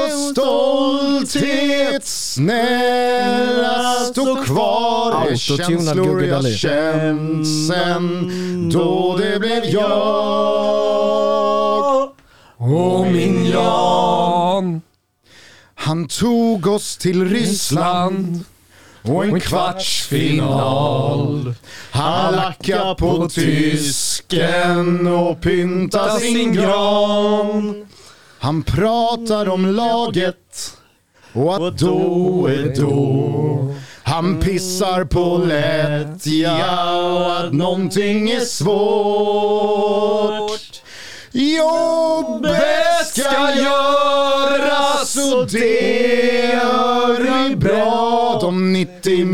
och stolthet snälla stå kvar. Det är
Autotunad
känslor
Gugge
jag
Dahlin.
känt sen då det blev jag och min Jan. Han tog oss till Ryssland och en kvartsfinal. Han lackade på tysken och pyntade sin gran. Han pratar om laget och att då är då. Mm. Han pissar på lättja och att någonting är svårt. Jobbet ska göras och det gör vi bra. De 90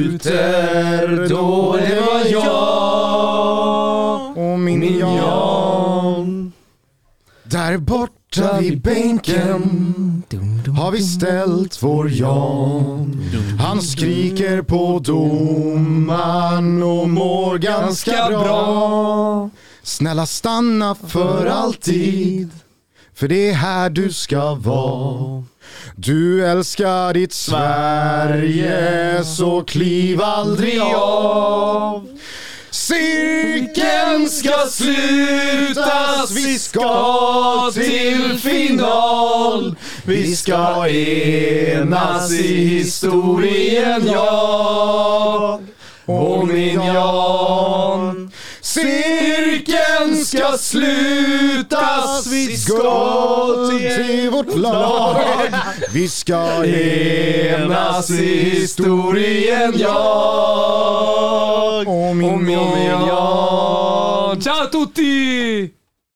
minuter då det var jag och min Jan. Där borta vid bänken har vi ställt vår Jan. Han skriker på domaren och mår ganska bra. Snälla stanna för alltid, för det är här du ska vara. Du älskar ditt Sverige, så kliv aldrig av. Cirkeln ska slutas, vi ska till final. Vi ska enas i historien, jag och min Jan. Cirkeln ska slutas, vi ska till vårt lag. Vi ska enas i historien, jag och min, och min Jan.
Ciao tutti!